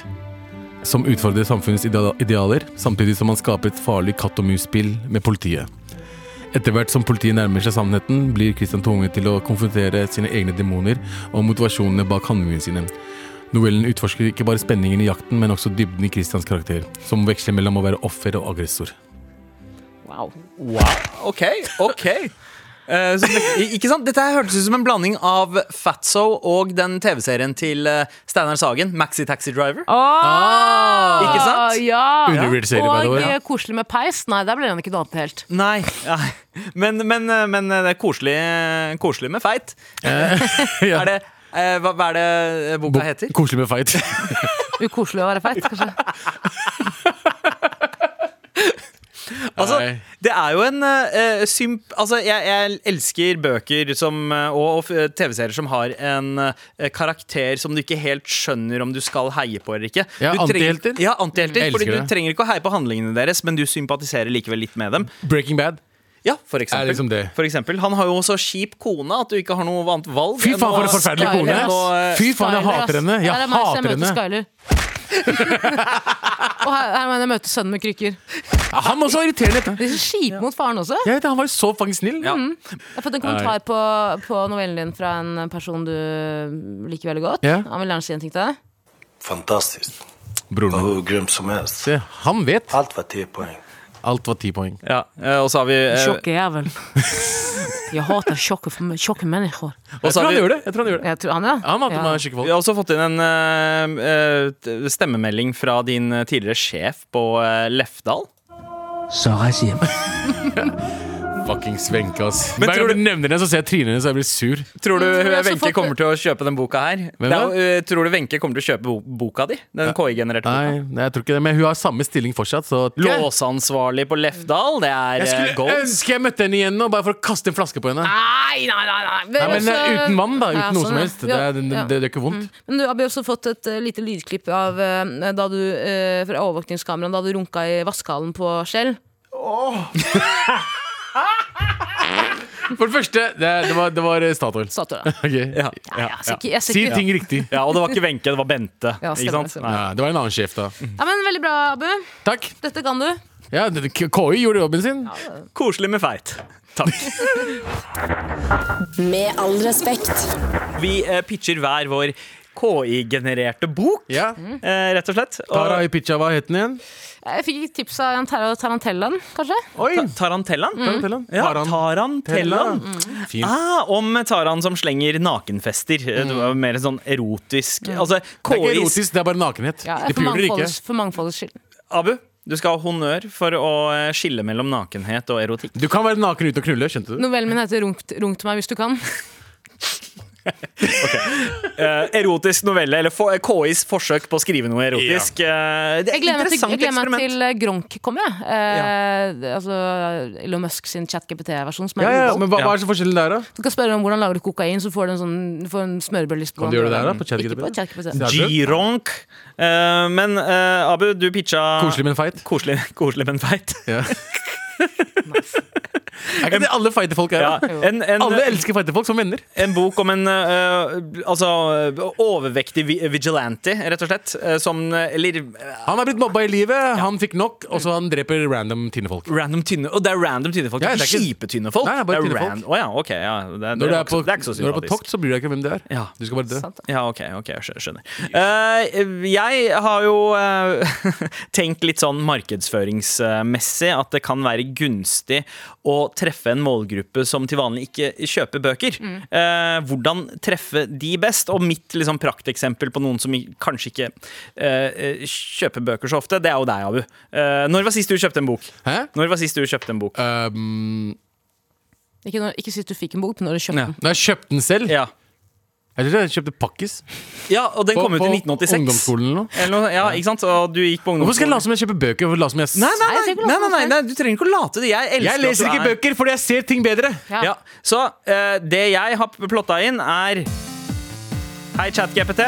[SPEAKER 3] som utfordrer samfunnets idea- idealer, samtidig som han skaper et farlig katt-og-mus-spill med politiet. Etter hvert som politiet nærmer seg sannheten, blir Christian tvunget til å konfrontere sine egne demoner og motivasjonene bak handlingene sine. Novellen utforsker ikke bare spenningen i jakten, men også dybden i Christians karakter, som veksler mellom å være offer og aggressor.
[SPEAKER 4] Wow.
[SPEAKER 2] Wow. Ok, ok. Eh, så, det- ikke sant? Dette her hørtes ut som en blanding av Fatso og den TV-serien til eh, Steinar Sagen, Maxi Taxi Driver. Ikke sant?
[SPEAKER 4] Ah, Ja.
[SPEAKER 3] Undervurdert serie, Ah! by the
[SPEAKER 4] Og
[SPEAKER 3] way, ja.
[SPEAKER 4] eh, koselig med peis. Nei, der ble han ikke noe annet helt.
[SPEAKER 2] Nei, nei. Men, men, eh, men det er koselig, eh, koselig med feit. <laughs> Er det, eh, hva, hva er det boka heter?
[SPEAKER 3] Koselig med fight.
[SPEAKER 4] <laughs> Ukoselig å være feit, kanskje.
[SPEAKER 2] Altså,
[SPEAKER 3] Nei.
[SPEAKER 2] det er jo en eh, symp... Altså, jeg, jeg elsker bøker som, eh, og, og f- TV-serier som har en eh, karakter som du ikke helt skjønner om du skal heie på eller ikke.
[SPEAKER 3] Ja,
[SPEAKER 2] Du trenger-
[SPEAKER 3] antihelter.
[SPEAKER 2] Ja, antihelter.
[SPEAKER 3] Jeg elsker
[SPEAKER 2] Fordi du
[SPEAKER 3] det.
[SPEAKER 2] trenger ikke å heie på handlingene deres, men du sympatiserer likevel litt med dem.
[SPEAKER 3] Breaking Bad.
[SPEAKER 2] Ja, for eksempel.
[SPEAKER 3] Er liksom det.
[SPEAKER 2] For eksempel. Han har jo også kjip kone, at du ikke har noe annet valg.
[SPEAKER 3] Fy
[SPEAKER 2] enn
[SPEAKER 3] faen, for
[SPEAKER 2] å- eh,
[SPEAKER 3] en forferdelig
[SPEAKER 4] Skyler, eh,
[SPEAKER 3] kone!
[SPEAKER 2] ass.
[SPEAKER 3] Fy faen, jeg
[SPEAKER 4] Skyler,
[SPEAKER 3] hater
[SPEAKER 4] ass.
[SPEAKER 3] henne!
[SPEAKER 4] Her er
[SPEAKER 3] Jeg
[SPEAKER 4] meg som
[SPEAKER 3] hater
[SPEAKER 4] møter
[SPEAKER 3] henne!
[SPEAKER 4] Skyler. <laughs> Og her, her må jeg møte sønnen med krykker.
[SPEAKER 3] Han var så irriterende!
[SPEAKER 4] De er så kjipe mot faren også.
[SPEAKER 3] Jeg vet, det, han var jo så fucking snill.
[SPEAKER 2] Ja.
[SPEAKER 4] Jeg har fått en kommentar på, på novellen din fra en person du liker veldig godt.
[SPEAKER 3] Ja.
[SPEAKER 4] Han vil gjerne si en ting til deg.
[SPEAKER 5] Fantastiskt.
[SPEAKER 3] Broren
[SPEAKER 5] Och
[SPEAKER 3] min.
[SPEAKER 5] hur grym som helst.
[SPEAKER 3] Se, Han vet.
[SPEAKER 5] Allt var 10 poäng.
[SPEAKER 3] Alt var ti poeng.
[SPEAKER 2] Ja, eh, og så har vi eh,
[SPEAKER 4] Tjokke jævel. Jeg hater tjokke, tjokke mennesker.
[SPEAKER 2] og
[SPEAKER 3] Jeg
[SPEAKER 2] så
[SPEAKER 3] tror
[SPEAKER 2] har
[SPEAKER 3] han
[SPEAKER 2] vi-
[SPEAKER 3] gjør det. Jeg tror han gjør det.
[SPEAKER 4] Jeg tror han, ja.
[SPEAKER 3] Han hater
[SPEAKER 4] ja.
[SPEAKER 3] meg skikkelig
[SPEAKER 2] Vi har også fått inn en eh, eh, t- stemmemelding fra din eh, tidligere sjef på eh, Lefdal.
[SPEAKER 6] Så rejser hjem.
[SPEAKER 3] Fucking Svenke, ass.
[SPEAKER 2] Men
[SPEAKER 3] Hver
[SPEAKER 2] tror
[SPEAKER 3] gang
[SPEAKER 2] du-
[SPEAKER 3] du nevner henne, så ser jeg trynet hennes og jeg blir sur.
[SPEAKER 2] Tror du
[SPEAKER 4] Mm, vi har også
[SPEAKER 2] Wenche
[SPEAKER 4] fått-
[SPEAKER 2] kommer til å kjøpe den boka her? Det
[SPEAKER 3] Hvem
[SPEAKER 2] er,
[SPEAKER 3] da?
[SPEAKER 2] jo, eh, tror du Wenche kommer til å kjøpe bo- boka di? Den KI-genererte boka?
[SPEAKER 3] Nei, nei, jeg tror ikke det. Men hun har samme stilling fortsatt, så
[SPEAKER 2] Låseansvarlig på Lefdal, det er
[SPEAKER 3] Jeg
[SPEAKER 2] eh,
[SPEAKER 3] skulle
[SPEAKER 2] goals.
[SPEAKER 3] ønske jeg møtte henne igjen nå, bare for å kaste en flaske på henne.
[SPEAKER 4] Nei, nei, nei, nei. Vi har
[SPEAKER 3] Nei, men
[SPEAKER 4] også-
[SPEAKER 3] eh, uten vann, da. Uten
[SPEAKER 4] Ja,
[SPEAKER 3] noe
[SPEAKER 4] sånn,
[SPEAKER 3] som
[SPEAKER 4] ja.
[SPEAKER 3] helst. Det,
[SPEAKER 4] Ja,
[SPEAKER 3] er- det,
[SPEAKER 4] ja. Mm.
[SPEAKER 3] det, det er ikke vondt.
[SPEAKER 4] Men du har vi også fått et eh, lite lydklipp av eh, da du, eh, fra overvåkningskameraet da du runka i vaskehallen på Skjell.
[SPEAKER 3] For det første, det, det var, det var eh, Statoil. <laughs>
[SPEAKER 4] Statuer, da.
[SPEAKER 3] Ok.
[SPEAKER 4] sånn. Ja, jeg ser ikke- jeg ser
[SPEAKER 3] Si
[SPEAKER 4] ikke-
[SPEAKER 3] ting riktig.
[SPEAKER 2] Ja, og det var ikke Wenche, det var Bente.
[SPEAKER 4] Ja,
[SPEAKER 2] ikke
[SPEAKER 4] stemmer,
[SPEAKER 2] sant?
[SPEAKER 4] stemmer.
[SPEAKER 2] Nei.
[SPEAKER 3] Ja, det var en annen sjef, da.
[SPEAKER 4] Ja, men Veldig bra, Abu.
[SPEAKER 3] Takk.
[SPEAKER 4] Dette kan du.
[SPEAKER 3] Ja, det- det- KI gjorde jobben sin.
[SPEAKER 2] Koselig med feit. Takk.
[SPEAKER 4] <laughs>
[SPEAKER 1] Med all respekt.
[SPEAKER 2] Vi eh, pitcher hver vår KI-genererte bok,
[SPEAKER 3] Ja.
[SPEAKER 4] Mm.
[SPEAKER 2] eh, rett og slett.
[SPEAKER 3] Tara
[SPEAKER 2] Og,
[SPEAKER 3] Ipicha, hva het den igjen?
[SPEAKER 4] Jeg fikk ikke tips av Jan Tar- Tarantellaen, kanskje?
[SPEAKER 3] Oi!
[SPEAKER 2] ta Tarantellaen?
[SPEAKER 4] Mm.
[SPEAKER 3] Tarantellaen.
[SPEAKER 2] Ja,
[SPEAKER 3] Taran- Mm.
[SPEAKER 2] Tarantellaen.
[SPEAKER 3] Fint.
[SPEAKER 2] Ah, om Taran som slenger nakenfester. Det var mer sånn erotisk Altså,
[SPEAKER 3] Det er ikke
[SPEAKER 2] KIs
[SPEAKER 3] erotisk, det er bare nakenhet.
[SPEAKER 4] Ja,
[SPEAKER 3] det
[SPEAKER 4] for,
[SPEAKER 3] puler ikke.
[SPEAKER 4] mangfoldets, for mangfoldets skyld.
[SPEAKER 2] Abu, du skal ha honnør for å eh, skille mellom nakenhet og erotikk.
[SPEAKER 3] Du kan være naken uten å knulle, skjønte du?
[SPEAKER 4] Novellen min heter Runk, Runkt meg hvis du kan.
[SPEAKER 2] Eh, erotisk novelle, eller eh, for, KIs forsøk på å skrive noe erotisk. Eh, det er
[SPEAKER 4] Jeg
[SPEAKER 2] et
[SPEAKER 4] gleder meg til, jeg
[SPEAKER 2] interessant
[SPEAKER 4] gleder meg
[SPEAKER 2] eksperiment.
[SPEAKER 4] til eh, Gronk kommer, jeg. Eh, Altså Elon Musk sin ChatGPT-versjon. som er
[SPEAKER 3] Ja, ja,
[SPEAKER 4] robot.
[SPEAKER 3] men hva,
[SPEAKER 2] Ja.
[SPEAKER 3] hva er så forskjellen der, da?
[SPEAKER 4] Du kan spørre om hvordan lager du kokain, så får du en, sånn, du får en smørbrødliste. på
[SPEAKER 3] Kan du
[SPEAKER 4] hvordan
[SPEAKER 3] gjøre det der, da,
[SPEAKER 4] lager
[SPEAKER 3] på
[SPEAKER 4] den.
[SPEAKER 3] ChatGPT?
[SPEAKER 4] Ikke på ChatGPT.
[SPEAKER 3] Det er søtt.
[SPEAKER 2] G-ronk. Eh, men eh, Abu, du pitcha
[SPEAKER 3] Koselig, men feit.
[SPEAKER 2] Koselig, koselig, men feit.
[SPEAKER 3] <laughs> Ja. er ikke det alle feite folk er?
[SPEAKER 2] Ja. eh,
[SPEAKER 3] da?
[SPEAKER 2] En, en,
[SPEAKER 3] Alle elsker feite folk som venner.
[SPEAKER 2] en bok om en eh, altså, overvektig vi- vigilante, rett og slett. eh, som eh, Eller eh,
[SPEAKER 3] Han er blitt mobba i livet, han fikk nok, og så han dreper random tinnefolk.
[SPEAKER 2] random tynne Og det er random tynne folk.
[SPEAKER 3] Ja,
[SPEAKER 2] det er ikke kjipe tynne folk.
[SPEAKER 3] Nei, det er bare
[SPEAKER 2] det
[SPEAKER 3] tynne folk.
[SPEAKER 2] ran- Å ja, ok. Ja, det, det,
[SPEAKER 3] Når du
[SPEAKER 2] er
[SPEAKER 3] er
[SPEAKER 2] ikke
[SPEAKER 3] på,
[SPEAKER 2] så- det er ikke så
[SPEAKER 3] når du er på
[SPEAKER 2] sympatisk.
[SPEAKER 3] tokt, så bryr du deg ikke hvem du er.
[SPEAKER 2] Ja.
[SPEAKER 3] Du skal bare dø.
[SPEAKER 4] Sant, da.
[SPEAKER 2] Ja, ok, ok, jeg skjø- skjønner. Eh, jeg har jo eh, <laughs> tenkt litt sånn markedsføringsmessig at det kan være gunstig å treffe en målgruppe som til vanlig ikke kjøper bøker. Eh, hvordan treffe de best? Og mitt liksom, prakteksempel på noen som i- kanskje ikke eh, kjøper bøker så ofte, det er jo deg, Abu. Eh, når var sist du kjøpte en bok?
[SPEAKER 3] Hæ?
[SPEAKER 2] Når var sist du kjøpte en bok?
[SPEAKER 3] Um,
[SPEAKER 4] Ikke, når, ikke sist du fikk en bok, men når du kjøpte
[SPEAKER 2] Ja.
[SPEAKER 4] den.
[SPEAKER 3] da jeg kjøpte den selv
[SPEAKER 2] Ja.
[SPEAKER 3] Jeg tror jeg kjøpte pakkis.
[SPEAKER 2] ja, og den
[SPEAKER 3] På-
[SPEAKER 2] kom ut
[SPEAKER 3] på
[SPEAKER 2] i 1986.
[SPEAKER 3] ungdomsskolen eller noe.
[SPEAKER 2] Eller noe, ja, ikke sant? Og du gikk på ungdomsskolen.
[SPEAKER 3] Hvorfor skal jeg late som jeg kjøper bøker? Hvorfor late som jeg... s-
[SPEAKER 2] Nei, nei,
[SPEAKER 4] Nei,
[SPEAKER 2] nei,
[SPEAKER 4] jeg trenger ikke å
[SPEAKER 2] nei,
[SPEAKER 4] late
[SPEAKER 2] nei, nei,
[SPEAKER 4] som
[SPEAKER 2] du trenger ikke å late det. Jeg elsker
[SPEAKER 3] Jeg leser
[SPEAKER 2] at du
[SPEAKER 3] ikke
[SPEAKER 2] er-
[SPEAKER 3] bøker fordi jeg ser ting bedre.
[SPEAKER 4] Ja.
[SPEAKER 2] Ja, så eh, det jeg har plotta inn, er Hei, ChatGPT.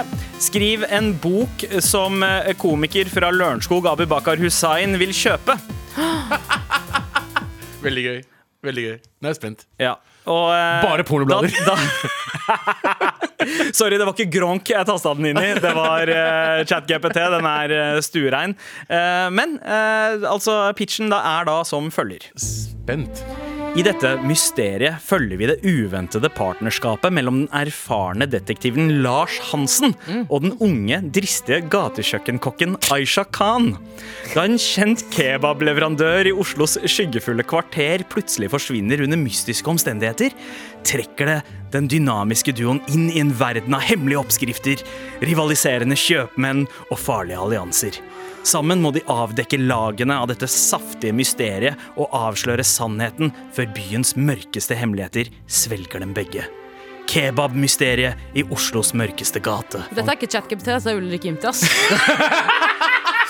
[SPEAKER 2] Skriv en bok som eh, komiker fra Lørenskog, Abu Bakar Hussain, vil kjøpe.
[SPEAKER 3] Veldig gøy. Veldig gøy. Nå er jeg spent.
[SPEAKER 2] Ja. Og, eh,
[SPEAKER 3] Bare pornoblader.
[SPEAKER 2] Da, da <laughs> Sorry, det var ikke Gronk jeg tasta den inn i. Det var eh, ChatGPT. Den er eh, stuerein. Eh, men eh, altså, pitchen da er da som følger.
[SPEAKER 3] Spent.
[SPEAKER 2] I dette mysteriet følger vi det uventede partnerskapet mellom den erfarne detektiven Lars Hansen og den unge, dristige gatekjøkkenkokken Aisha Khan. Da en kjent kebableverandør i Oslos skyggefulle kvarter plutselig forsvinner under mystiske omstendigheter, trekker det den dynamiske duoen inn i en verden av hemmelige oppskrifter, rivaliserende kjøpmenn og farlige allianser. Sammen må de avdekke lagene av dette saftige mysteriet og avsløre sannheten før byens mørkeste hemmeligheter svelger dem begge. Kebabmysteriet i Oslos mørkeste gate.
[SPEAKER 4] Dette er ikke ChatGPT, det er Ulrik
[SPEAKER 3] <laughs>
[SPEAKER 4] Imtias.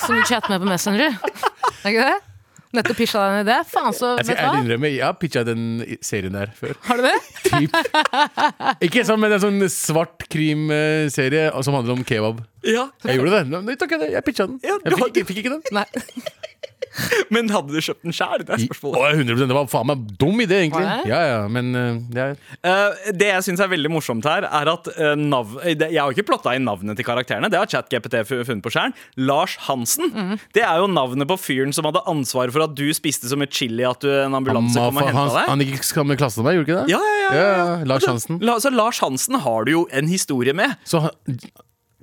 [SPEAKER 4] som du chatter med på Messenger. Er ikke det? Nettopp pisha deg en idé. Faen,
[SPEAKER 3] Jeg
[SPEAKER 4] så Altså, vet
[SPEAKER 3] skal
[SPEAKER 4] du
[SPEAKER 3] ærlig
[SPEAKER 4] hva?
[SPEAKER 3] innrømme, jeg har pitcha den i- serien der før.
[SPEAKER 4] Har du det?
[SPEAKER 3] Typ. Ikke sånn, men det er sånn svart krimserie og- som handler om kebab.
[SPEAKER 2] Ja,
[SPEAKER 3] Jeg gjorde det. Nei, Nei, takk, jeg jeg pitcha den.
[SPEAKER 2] Ja,
[SPEAKER 3] Jeg
[SPEAKER 2] du har-
[SPEAKER 3] fikk, ikke- fikk ikke den.
[SPEAKER 4] Nei.
[SPEAKER 2] Men hadde du kjøpt den sjæl? Det er
[SPEAKER 3] Å, 100 Det var faen meg dum idé,
[SPEAKER 4] Var
[SPEAKER 3] egentlig.
[SPEAKER 4] det?
[SPEAKER 3] Ja, ja, men eh, jeg,
[SPEAKER 2] Eh, det jeg syns er veldig morsomt her, er at eh, nav eh, det- Jeg har ikke plotta inn navnet til karakterene. Det har ChatGPT fu- funnet på sjæl. Lars Hansen. Det er jo navnet på fyren som hadde ansvaret for at du spiste så mye chili at du, en
[SPEAKER 3] han,
[SPEAKER 2] ambulanse kom og
[SPEAKER 3] han,
[SPEAKER 2] henta deg.
[SPEAKER 3] han gikk i samme klasse som meg, gjorde ikke det?
[SPEAKER 2] Ja, ja, ja, Altså- ja, ja.
[SPEAKER 3] Lars Hansen.
[SPEAKER 2] La, så Lars Hansen har du jo en historie med.
[SPEAKER 3] Så han-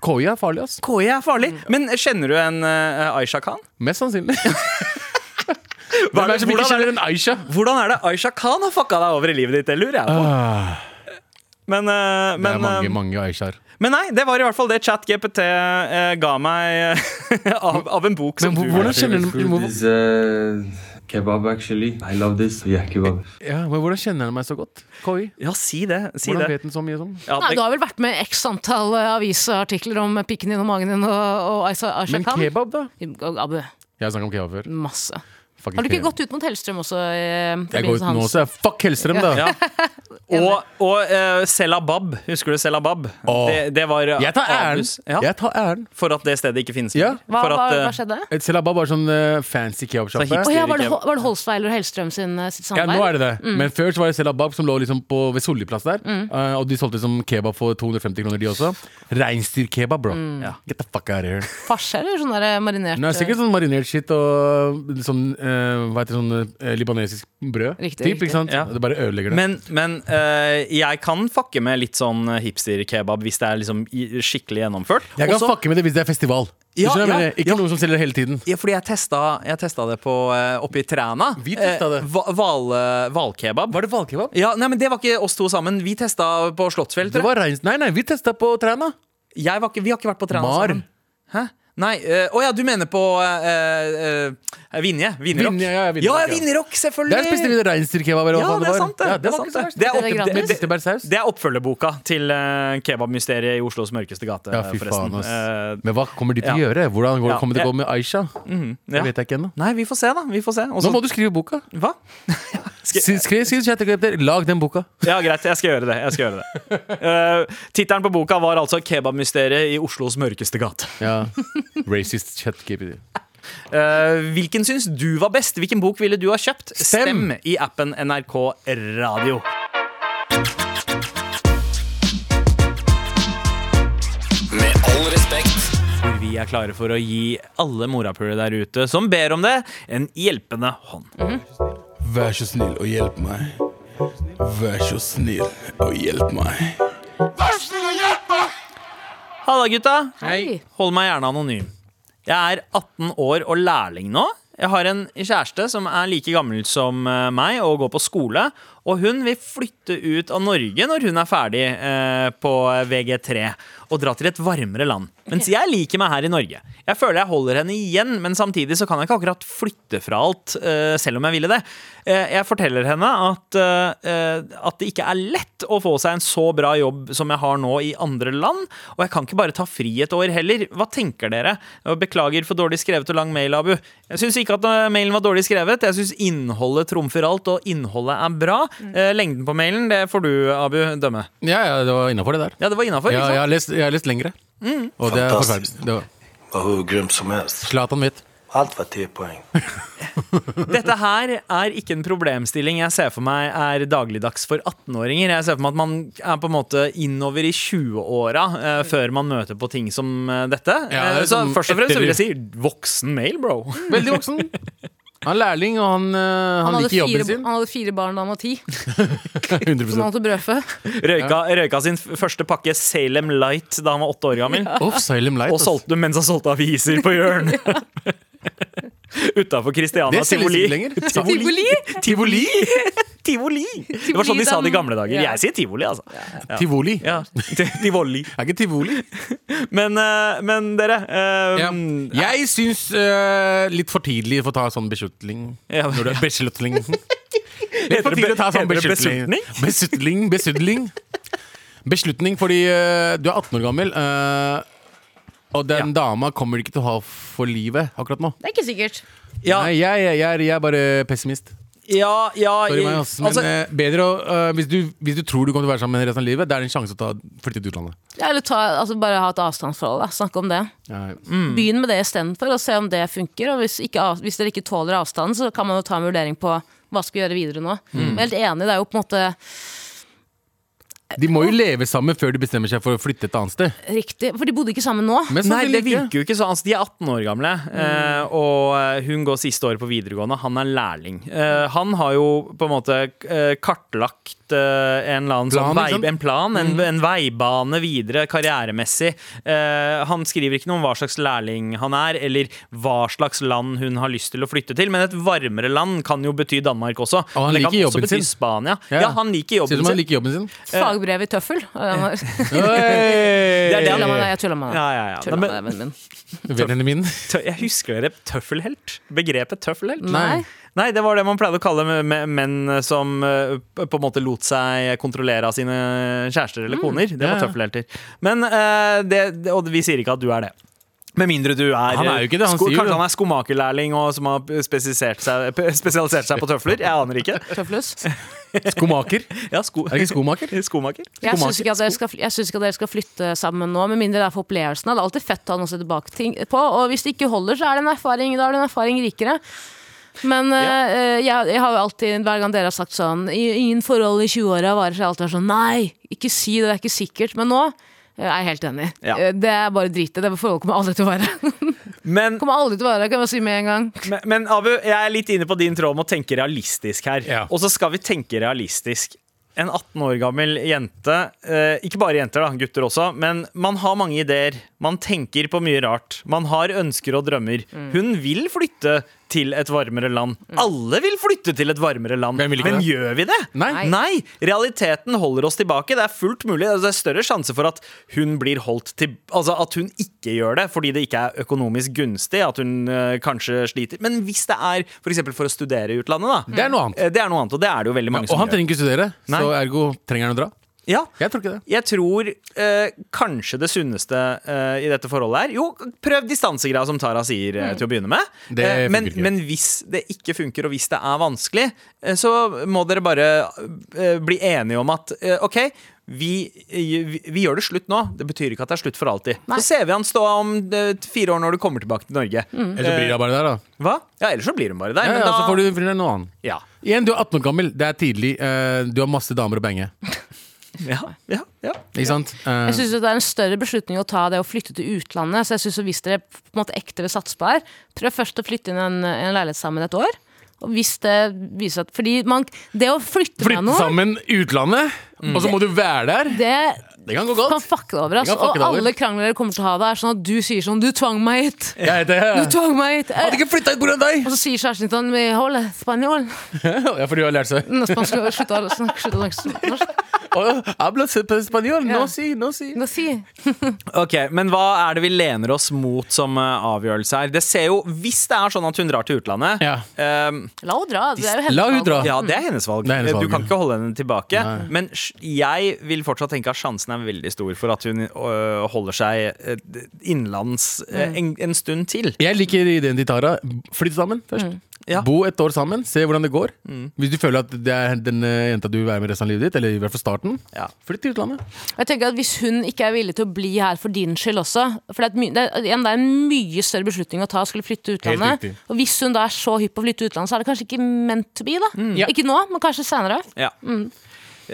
[SPEAKER 3] KI er farlig, ass.
[SPEAKER 2] KI er farlig.
[SPEAKER 4] Mm.
[SPEAKER 2] Men kjenner du en eh, Aisha Khan?
[SPEAKER 3] Mest sannsynlig. Hvem er det som ikke
[SPEAKER 2] hvordan,
[SPEAKER 3] kjenner
[SPEAKER 2] er det,
[SPEAKER 3] en Aisha?
[SPEAKER 2] hvordan er det Aisha Khan har fucka deg over i livet ditt? Det lurer jeg på. Men, eh,
[SPEAKER 3] Eh, Det
[SPEAKER 2] men,
[SPEAKER 3] er mange,
[SPEAKER 2] eh,
[SPEAKER 3] mange Aishar.
[SPEAKER 2] men nei, det var i hvert fall det ChatGPT eh, ga meg eh, <laughs> av, av en bok som
[SPEAKER 3] Men hvor-
[SPEAKER 2] du
[SPEAKER 3] hvordan kjenner
[SPEAKER 6] Favorite
[SPEAKER 3] den
[SPEAKER 6] food
[SPEAKER 3] hvor,
[SPEAKER 6] is uh, kebab actually. I love this. Yeah, kebab.
[SPEAKER 3] ja, men hvordan kjenner den meg så godt? Koi?
[SPEAKER 2] Ja, si det. Si
[SPEAKER 3] Hvordan
[SPEAKER 2] det.
[SPEAKER 3] vet den så mye sånn?
[SPEAKER 2] Ja,
[SPEAKER 4] Nei,
[SPEAKER 2] det-
[SPEAKER 4] Du har vel vært med x antall eh, avisartikler om pikken din og magen din og, og Aisha Aisha
[SPEAKER 3] Men
[SPEAKER 4] Khan?
[SPEAKER 3] kebab, da?
[SPEAKER 4] Og Abu,
[SPEAKER 3] Jeg har snakka om kebab før.
[SPEAKER 4] masse.
[SPEAKER 3] Fucking
[SPEAKER 4] Har du ikke
[SPEAKER 3] kebab.
[SPEAKER 4] gått ut mot Hellstrøm også? eh,
[SPEAKER 3] Jeg går ut nå, så jeg Fuck Hellstrøm, da!
[SPEAKER 2] Ja. Og, og eh, Selabab. Husker du Selabab?
[SPEAKER 3] Åh.
[SPEAKER 2] Det, det var eh,
[SPEAKER 3] Jeg tar æren!
[SPEAKER 2] Abus. Ja,
[SPEAKER 3] Jeg tar æren.
[SPEAKER 2] For at det stedet ikke finnes
[SPEAKER 3] Ja.
[SPEAKER 2] mer.
[SPEAKER 4] Hva,
[SPEAKER 2] For
[SPEAKER 4] hva,
[SPEAKER 2] at, eh,
[SPEAKER 4] hva skjedde?
[SPEAKER 3] Et Selabab var sånn eh,
[SPEAKER 2] Så
[SPEAKER 3] fancy
[SPEAKER 2] hipster.
[SPEAKER 3] kebabsjappe.
[SPEAKER 4] Å ja, var, det,
[SPEAKER 2] ikke-
[SPEAKER 4] Ho- var det Holsweiler og Hellstrøm sin, eh, sitt
[SPEAKER 3] Ja,
[SPEAKER 4] samarbeid?
[SPEAKER 3] nå er det det. Men før så var det Selabab som lå liksom på, ved Solliplass der.
[SPEAKER 4] Mm.
[SPEAKER 3] eh, og de solgte som kebab for 250 kroner, de også. Reinsdyrkebab, bro.
[SPEAKER 4] Mm.
[SPEAKER 2] Ja.
[SPEAKER 3] Get the fuck out of here.
[SPEAKER 4] Fars, eller sånn der eh, marinert
[SPEAKER 3] Nå er det sikkert sånn marinert shit og sånn, eh, hva heter det, sånn eh, libanesisk brød.
[SPEAKER 4] Riktig,
[SPEAKER 3] typ,
[SPEAKER 4] riktig.
[SPEAKER 3] Ikke sant?
[SPEAKER 2] Ja.
[SPEAKER 3] Det bare ødelegger det.
[SPEAKER 2] Men, men eh, jeg kan fucke med litt sånn hipster-kebab hvis det er liksom i- skikkelig gjennomført.
[SPEAKER 3] jeg kan
[SPEAKER 2] Også-
[SPEAKER 3] fucke med det hvis det er festival. Du
[SPEAKER 2] Ja,
[SPEAKER 3] skjønner hva jeg
[SPEAKER 2] ja,
[SPEAKER 3] mener? ikke
[SPEAKER 2] ja.
[SPEAKER 3] noe som selger hele tiden.
[SPEAKER 2] ja, fordi jeg testa, jeg testa det på, eh, oppe i Træna.
[SPEAKER 3] Vi testa det.
[SPEAKER 2] Eh, hva- Hval, hvalkebab.
[SPEAKER 3] Var det valgkebab?
[SPEAKER 2] Ja, nei, men Det var ikke oss to sammen. Vi testa på Slottsfjell.
[SPEAKER 3] Det
[SPEAKER 2] tror jeg.
[SPEAKER 3] var reins... Nei, nei, vi testa på Træna.
[SPEAKER 2] Jeg var ikke, vi har ikke vært på Træna
[SPEAKER 3] Mar.
[SPEAKER 2] sammen. Hæ? Nei, eh, å ja, du mener på eh, eh, Vinje? Vinjerock.
[SPEAKER 3] Vinje, ja, ja, Vinjerock,
[SPEAKER 2] ja, ja,
[SPEAKER 3] ja.
[SPEAKER 2] Vinjerock, selvfølgelig!
[SPEAKER 3] Der spiste vi reinsdyrkebab. eller hva
[SPEAKER 2] Ja,
[SPEAKER 3] faen
[SPEAKER 2] det er sant, det. Det
[SPEAKER 3] Ja,
[SPEAKER 2] er
[SPEAKER 3] det var
[SPEAKER 2] sant,
[SPEAKER 3] ikke så
[SPEAKER 2] det.
[SPEAKER 3] verst.
[SPEAKER 2] Det er opp-
[SPEAKER 4] Det er gratis.
[SPEAKER 2] det-
[SPEAKER 3] Med Tyttebærsaus.
[SPEAKER 2] Det er oppfølgerboka til eh, kebabmysteriet i Oslos mørkeste gate,
[SPEAKER 3] Ja, fy
[SPEAKER 2] forresten.
[SPEAKER 3] faen, ass.
[SPEAKER 2] Eh,
[SPEAKER 3] Men hva kommer de til å
[SPEAKER 2] Ja.
[SPEAKER 3] gjøre? Hvordan går,
[SPEAKER 2] Ja,
[SPEAKER 3] kommer det
[SPEAKER 2] jeg-
[SPEAKER 3] til å gå med Aisha?
[SPEAKER 2] ja.
[SPEAKER 3] Det vet jeg ikke ennå.
[SPEAKER 2] Nei, vi får se, da. Vi får se. Og
[SPEAKER 3] Nå
[SPEAKER 2] så-
[SPEAKER 3] må du skrive boka.
[SPEAKER 2] Hva? Skal-
[SPEAKER 3] Skriv, skriv, skriv chattekrefter. Lag den boka.
[SPEAKER 2] Ja, greit. Jeg skal gjøre det. Jeg skal gjøre det. <laughs> Eh, Tittelen på boka var altså 'Kebabmysteriet i Oslos mørkeste gate'. <laughs>
[SPEAKER 3] Ja. Racist chatgpt.
[SPEAKER 2] Eh, hvilken syns du var best? Hvilken bok ville du ha kjøpt?
[SPEAKER 3] Stem!
[SPEAKER 2] Stem i appen NRK Radio.
[SPEAKER 7] Med all respekt.
[SPEAKER 2] Hvor vi er klare for å gi alle morapulere der ute som ber om det, en hjelpende hånd.
[SPEAKER 8] Vær så snill og hjelp meg. Vær så snill og hjelp meg.
[SPEAKER 2] Halla, gutta.
[SPEAKER 4] Hei.
[SPEAKER 2] Hold meg gjerne anonym. Jeg er 18 år og lærling nå. Jeg har en kjæreste som er like gammel som eh, meg og går på skole. Og hun vil flytte ut av Norge når hun er ferdig eh, på VG3 og dra til et varmere land. Mens jeg liker meg her i Norge. Jeg føler jeg holder henne igjen, men samtidig så kan jeg ikke akkurat flytte fra alt, eh, selv om jeg ville det. Eh, jeg forteller henne at, eh, eh, at det ikke er lett å få seg en så bra jobb som jeg har nå i andre land, og jeg kan ikke bare ta fri et år heller. Hva tenker dere? Og Beklager for dårlig skrevet og lang mail, Abu. Jeg syns ikke at eh, mailen var dårlig skrevet. Jeg syns innholdet trumfer alt, og innholdet er bra. Eh, Lengden på mailen, det får du, Abu, dømme.
[SPEAKER 3] Ja, ja, det var innafor, det der.
[SPEAKER 2] Ja, det var Mm. innafor,
[SPEAKER 3] Ja,
[SPEAKER 2] ikke
[SPEAKER 3] jeg
[SPEAKER 2] sant?
[SPEAKER 3] har lest, jeg har lest lengre. Og det er
[SPEAKER 5] Fantastisk.
[SPEAKER 3] forferdelig. Det var-
[SPEAKER 5] Var hur grym som helst.
[SPEAKER 3] Zlatan vet.
[SPEAKER 5] Allt var 10 poäng.
[SPEAKER 2] Dette her er ikke en problemstilling jeg ser for meg er dagligdags for 18-åringer. Jeg ser for meg at man er på en måte innover i 20-åra eh, før man møter på ting som eh, dette.
[SPEAKER 3] Ja, det er
[SPEAKER 2] Eh, så
[SPEAKER 3] sånn Mm.
[SPEAKER 2] først og fremst så vil jeg si
[SPEAKER 3] etterliv.
[SPEAKER 2] voksen male, bro.
[SPEAKER 3] Veldig voksen. Han er lærling, og han, eh, han,
[SPEAKER 4] Han, hadde
[SPEAKER 3] liker jobben
[SPEAKER 4] fire,
[SPEAKER 3] sin.
[SPEAKER 4] han hadde fire barn da han var ti. Som
[SPEAKER 3] <laughs> 100
[SPEAKER 2] <laughs>
[SPEAKER 4] han hadde brødfø.
[SPEAKER 2] Røyka, røyka sin f- første pakke Salem Light da han var åtte år gammel.
[SPEAKER 3] Off, Salem Light.
[SPEAKER 2] Og
[SPEAKER 3] ass.
[SPEAKER 2] solgte mens han solgte aviser på
[SPEAKER 3] <laughs>
[SPEAKER 2] hjørnet. <laughs> Utafor Christiania
[SPEAKER 3] Det selges
[SPEAKER 2] <laughs> Tivoli.
[SPEAKER 3] ikke lenger.
[SPEAKER 4] Tivoli!
[SPEAKER 2] Tivoli! Tivoli! Det var sånn de sa det i gamle dager.
[SPEAKER 4] Ja.
[SPEAKER 2] Jeg sier tivoli, altså.
[SPEAKER 3] Tivoli.
[SPEAKER 2] Ja, <laughs> Tivoli.
[SPEAKER 3] Er ikke Tivoli?
[SPEAKER 2] Men, eh, men dere eh,
[SPEAKER 3] Ja. Jeg syns eh, litt for tidlig for å ta sånn beslutning.
[SPEAKER 2] Ja, men-
[SPEAKER 3] Når det er
[SPEAKER 2] <laughs>
[SPEAKER 3] beslutning. Litt for
[SPEAKER 2] det
[SPEAKER 3] tidlig å ta
[SPEAKER 2] be-
[SPEAKER 3] sånn
[SPEAKER 2] heter det
[SPEAKER 3] beslutning. Beslutning, beslutning. Beslutning fordi eh, du er 18 år gammel, eh, og den dama kommer du ikke til å ha for livet akkurat nå.
[SPEAKER 4] Det er ikke sikkert.
[SPEAKER 2] Ja,
[SPEAKER 3] Nei, jeg, jeg, jeg, er, jeg er bare pessimist.
[SPEAKER 2] ja, ja i-
[SPEAKER 3] Sorry, meg, ass. Men
[SPEAKER 2] altså,
[SPEAKER 3] eh, bedre å eh, hvis, du, hvis du tror du kommer til å være sammen med henne resten av livet, da er det en sjanse å ta, flytte til utlandet.
[SPEAKER 4] Ja, Eller ta, altså bare ha et avstandsforhold. Da. Snakke om det.
[SPEAKER 3] Ja,
[SPEAKER 2] Mm.
[SPEAKER 4] Begynn med det istedenfor, og se om det funker. Og hvis, ikke, av- hvis dere ikke tåler avstanden, så kan man jo ta en vurdering på hva skal vi gjøre videre nå.
[SPEAKER 3] Mm.
[SPEAKER 4] Men Helt enig, det er jo på en måte
[SPEAKER 3] De må jo leve sammen før de bestemmer seg for å flytte et annet sted.
[SPEAKER 4] riktig. For de bodde ikke sammen nå.
[SPEAKER 3] Men sånn
[SPEAKER 2] Nei, det
[SPEAKER 3] sannsynlig ikke.
[SPEAKER 2] virker jo ikke sånn. Altså, de er 18 år gamle, eh, og eh, hun går siste året på videregående. Han er lærling. Eh, han har jo på en måte eh, kartlagt eh, en eller annen
[SPEAKER 3] Plan,
[SPEAKER 2] sånn vei,
[SPEAKER 3] liksom.
[SPEAKER 2] en plan, en, en veibane videre karrieremessig. Eh, han skriver ikke noe om hva slags lærling han er, eller hva slags land hun har lyst til å flytte til, men et varmere land kan jo bety Danmark også.
[SPEAKER 3] han
[SPEAKER 2] Men det kan
[SPEAKER 3] liker
[SPEAKER 2] også
[SPEAKER 3] jobben
[SPEAKER 2] bety
[SPEAKER 3] sin.
[SPEAKER 2] Spania.
[SPEAKER 3] Ja.
[SPEAKER 2] Ja, han liker
[SPEAKER 3] Ser
[SPEAKER 2] jobben
[SPEAKER 3] ut som han
[SPEAKER 2] sin.
[SPEAKER 3] liker jobben sin.
[SPEAKER 4] Fag, Hugbrev i
[SPEAKER 3] <laughs>
[SPEAKER 4] tøffel. Jeg
[SPEAKER 3] Det
[SPEAKER 2] er det han-
[SPEAKER 4] tuller med deg, jeg tuller med
[SPEAKER 2] Ja,
[SPEAKER 4] deg.
[SPEAKER 2] ja, ja. Nei,
[SPEAKER 4] Tuller med deg,
[SPEAKER 2] men,
[SPEAKER 4] vennen min.
[SPEAKER 3] Vennene mine.
[SPEAKER 2] tø- jeg husker dere tøffelhelt? Begrepet tøffelhelt?
[SPEAKER 4] <laughs> Nei.
[SPEAKER 2] Nei, det var det man pleide å kalle me- me- menn som eh, på en måte lot seg kontrollere av sine kjærester eller koner. Det var
[SPEAKER 3] Mm. Ja, ja.
[SPEAKER 2] tøffelhelter. Men eh, det, det- Og vi sier ikke at du er det. Med mindre du er, eh,
[SPEAKER 3] Han er jo ikke det, han
[SPEAKER 2] sko-
[SPEAKER 3] sier jo det.
[SPEAKER 2] Kanskje han er skomakerlærling og som har spesifisert seg, <laughs> p- spesialisert seg på tøfler. Jeg aner ikke.
[SPEAKER 4] Tøflus. <laughs>
[SPEAKER 3] Skomaker.
[SPEAKER 2] Ja, <laughs> sko
[SPEAKER 3] Er det ikke skomaker?
[SPEAKER 2] skomaker?
[SPEAKER 4] Jeg syns ikke, at dere skal fly- jeg synes ikke at dere skal flytte sammen nå, med mindre det er for opplevelsen. Det er alltid fett å ha noe å se tilbake ting på, og hvis det ikke holder, så er det en erfaring, da er det en erfaring rikere. Men eh, jeg, jeg har jo alltid, hver gang dere har sagt sånn "I- Ingen forhold i 20-åra varer, så har jeg alltid vært sånn Nei, ikke si det, det er ikke sikkert. Men nå eh, er jeg helt enig.
[SPEAKER 2] Ja.
[SPEAKER 4] Eh, Det er bare drit i. Det forholdet kommer aldri til <laughs> å være.
[SPEAKER 2] Men,
[SPEAKER 4] kommer aldri til å være, kan jeg bare si med en gang.
[SPEAKER 2] <laughs> men, men Abu, jeg er litt inne på din tråd om å tenke realistisk her.
[SPEAKER 3] Ja.
[SPEAKER 2] Og så skal vi tenke realistisk. En 18 år gammel jente, eh, ikke bare jenter, da, gutter også, men man har mange ideer. Man tenker på mye rart. Man har ønsker og drømmer. Hun vil flytte til et varmere land. Alle vil flytte til et varmere land.
[SPEAKER 3] Hvem vil ikke
[SPEAKER 2] men
[SPEAKER 3] det?
[SPEAKER 2] gjør vi det?
[SPEAKER 3] Nei.
[SPEAKER 2] Nei, realiteten holder oss tilbake. Det er fullt mulig. Altså, Det er større sjanse for at hun blir holdt til Altså at hun ikke gjør det fordi det ikke er økonomisk gunstig, at hun eh, kanskje sliter. Men hvis det er f.eks. For, eksempel for å studere i utlandet, da.
[SPEAKER 3] Det er noe annet.
[SPEAKER 2] Eh, Det er noe annet, og det er det jo veldig mange
[SPEAKER 3] Og
[SPEAKER 2] som
[SPEAKER 3] han trenger
[SPEAKER 2] gjør.
[SPEAKER 3] ikke studere,
[SPEAKER 2] Nei.
[SPEAKER 3] så ergo trenger han å dra.
[SPEAKER 2] Ja.
[SPEAKER 3] Jeg tror ikke det.
[SPEAKER 2] Jeg tror eh, kanskje det sunneste eh, i dette forholdet er Jo, prøv distansegreia som Tara sier eh, til å begynne med.
[SPEAKER 3] Mm. Det
[SPEAKER 2] Eh, men,
[SPEAKER 3] funker ikke.
[SPEAKER 2] men hvis det ikke funker, og hvis det er vanskelig, eh, så må dere bare eh, bli enige om at eh, OK, vi, vi, vi gjør det slutt nå. Det betyr ikke at det er slutt for alltid. Så ser vi han stå om eh, fire år når du kommer tilbake til Norge.
[SPEAKER 3] Eller så blir han bare der, da.
[SPEAKER 2] Hva? Ja, ellers så blir hun bare der.
[SPEAKER 3] Mm. Ja,
[SPEAKER 2] men
[SPEAKER 3] ja,
[SPEAKER 2] da,
[SPEAKER 3] så får du finne deg noe annet.
[SPEAKER 2] ja,
[SPEAKER 3] Igjen, du er 18 år gammel, det er tidlig. eh, du har masse damer å bange.
[SPEAKER 2] ja, ja, ja.
[SPEAKER 3] Ikke sant? Eh,
[SPEAKER 4] Jeg synes jo det er en større beslutning å ta det å flytte til utlandet. Så jeg synes jo hvis dere på en måte ekte vil satse på her, prøv først å flytte inn i en, en leilighet sammen et år. Og hvis det viser at Fordi man, det å flytte med
[SPEAKER 3] Flytte
[SPEAKER 4] noen,
[SPEAKER 3] sammen utlandet, og så må du være der.
[SPEAKER 4] det
[SPEAKER 3] Mm. Det kan gå
[SPEAKER 4] kan
[SPEAKER 3] godt.
[SPEAKER 4] fucke deg over. Altså.
[SPEAKER 3] Det kan fucke
[SPEAKER 4] Og
[SPEAKER 3] deg over.
[SPEAKER 4] alle krangler dere kommer til å ha det, er sånn at du sier sånn Du tvang meg hit!
[SPEAKER 3] Jeg heter
[SPEAKER 4] Du tvang meg hit!
[SPEAKER 3] Hadde ikke flytta ut pga. deg!
[SPEAKER 4] Og så sier kjæresten din sånn Vi holder spanjol.
[SPEAKER 3] <laughs> Ja, for du har lært seg
[SPEAKER 4] Nå skal man skal slutte å snakke slutte å snakke norsk.
[SPEAKER 3] oh, Habla spanjol,
[SPEAKER 4] Ja.
[SPEAKER 3] no si, no si.
[SPEAKER 4] Nå si.
[SPEAKER 2] Ok, Men hva er det vi lener oss mot som eh, avgjørelse her? Det ser jo, Hvis det er sånn at hun drar til utlandet
[SPEAKER 3] Ja.
[SPEAKER 2] ehm,
[SPEAKER 4] La henne dra. Det er jo hennes
[SPEAKER 3] La hun
[SPEAKER 4] valg.
[SPEAKER 3] dra.
[SPEAKER 2] ja, det er hennes valg. Eh,
[SPEAKER 3] Det er hennes valg,
[SPEAKER 2] du kan
[SPEAKER 3] ja.
[SPEAKER 2] ikke holde henne tilbake. Men sj- jeg vil fortsatt tenke at sjansen er veldig stor for at hun øh, holder seg øh, innenlands øh, en, en stund til.
[SPEAKER 3] Jeg liker ideen til Tara. Flytt sammen først.
[SPEAKER 2] Mm. Ja. Mm.
[SPEAKER 3] Bo et år sammen, se hvordan det går. Hvis du føler at det er den eh, jenta du vil være med resten av livet ditt, eller i hvert fall starten,
[SPEAKER 2] Ja.
[SPEAKER 3] flytt til utlandet.
[SPEAKER 4] Og Jeg tenker at Hvis hun ikke er villig til å bli her for din skyld også For Det er, et my det er, igjen, det er en mye større beslutning å ta å skulle flytte til utlandet.
[SPEAKER 3] riktig.
[SPEAKER 4] Og Hvis hun da er så hypp på å flytte til utlandet, så er det kanskje ikke meant to be. da
[SPEAKER 3] Ja.
[SPEAKER 4] Ikke nå, men kanskje senere.
[SPEAKER 2] Ja.
[SPEAKER 4] Jeg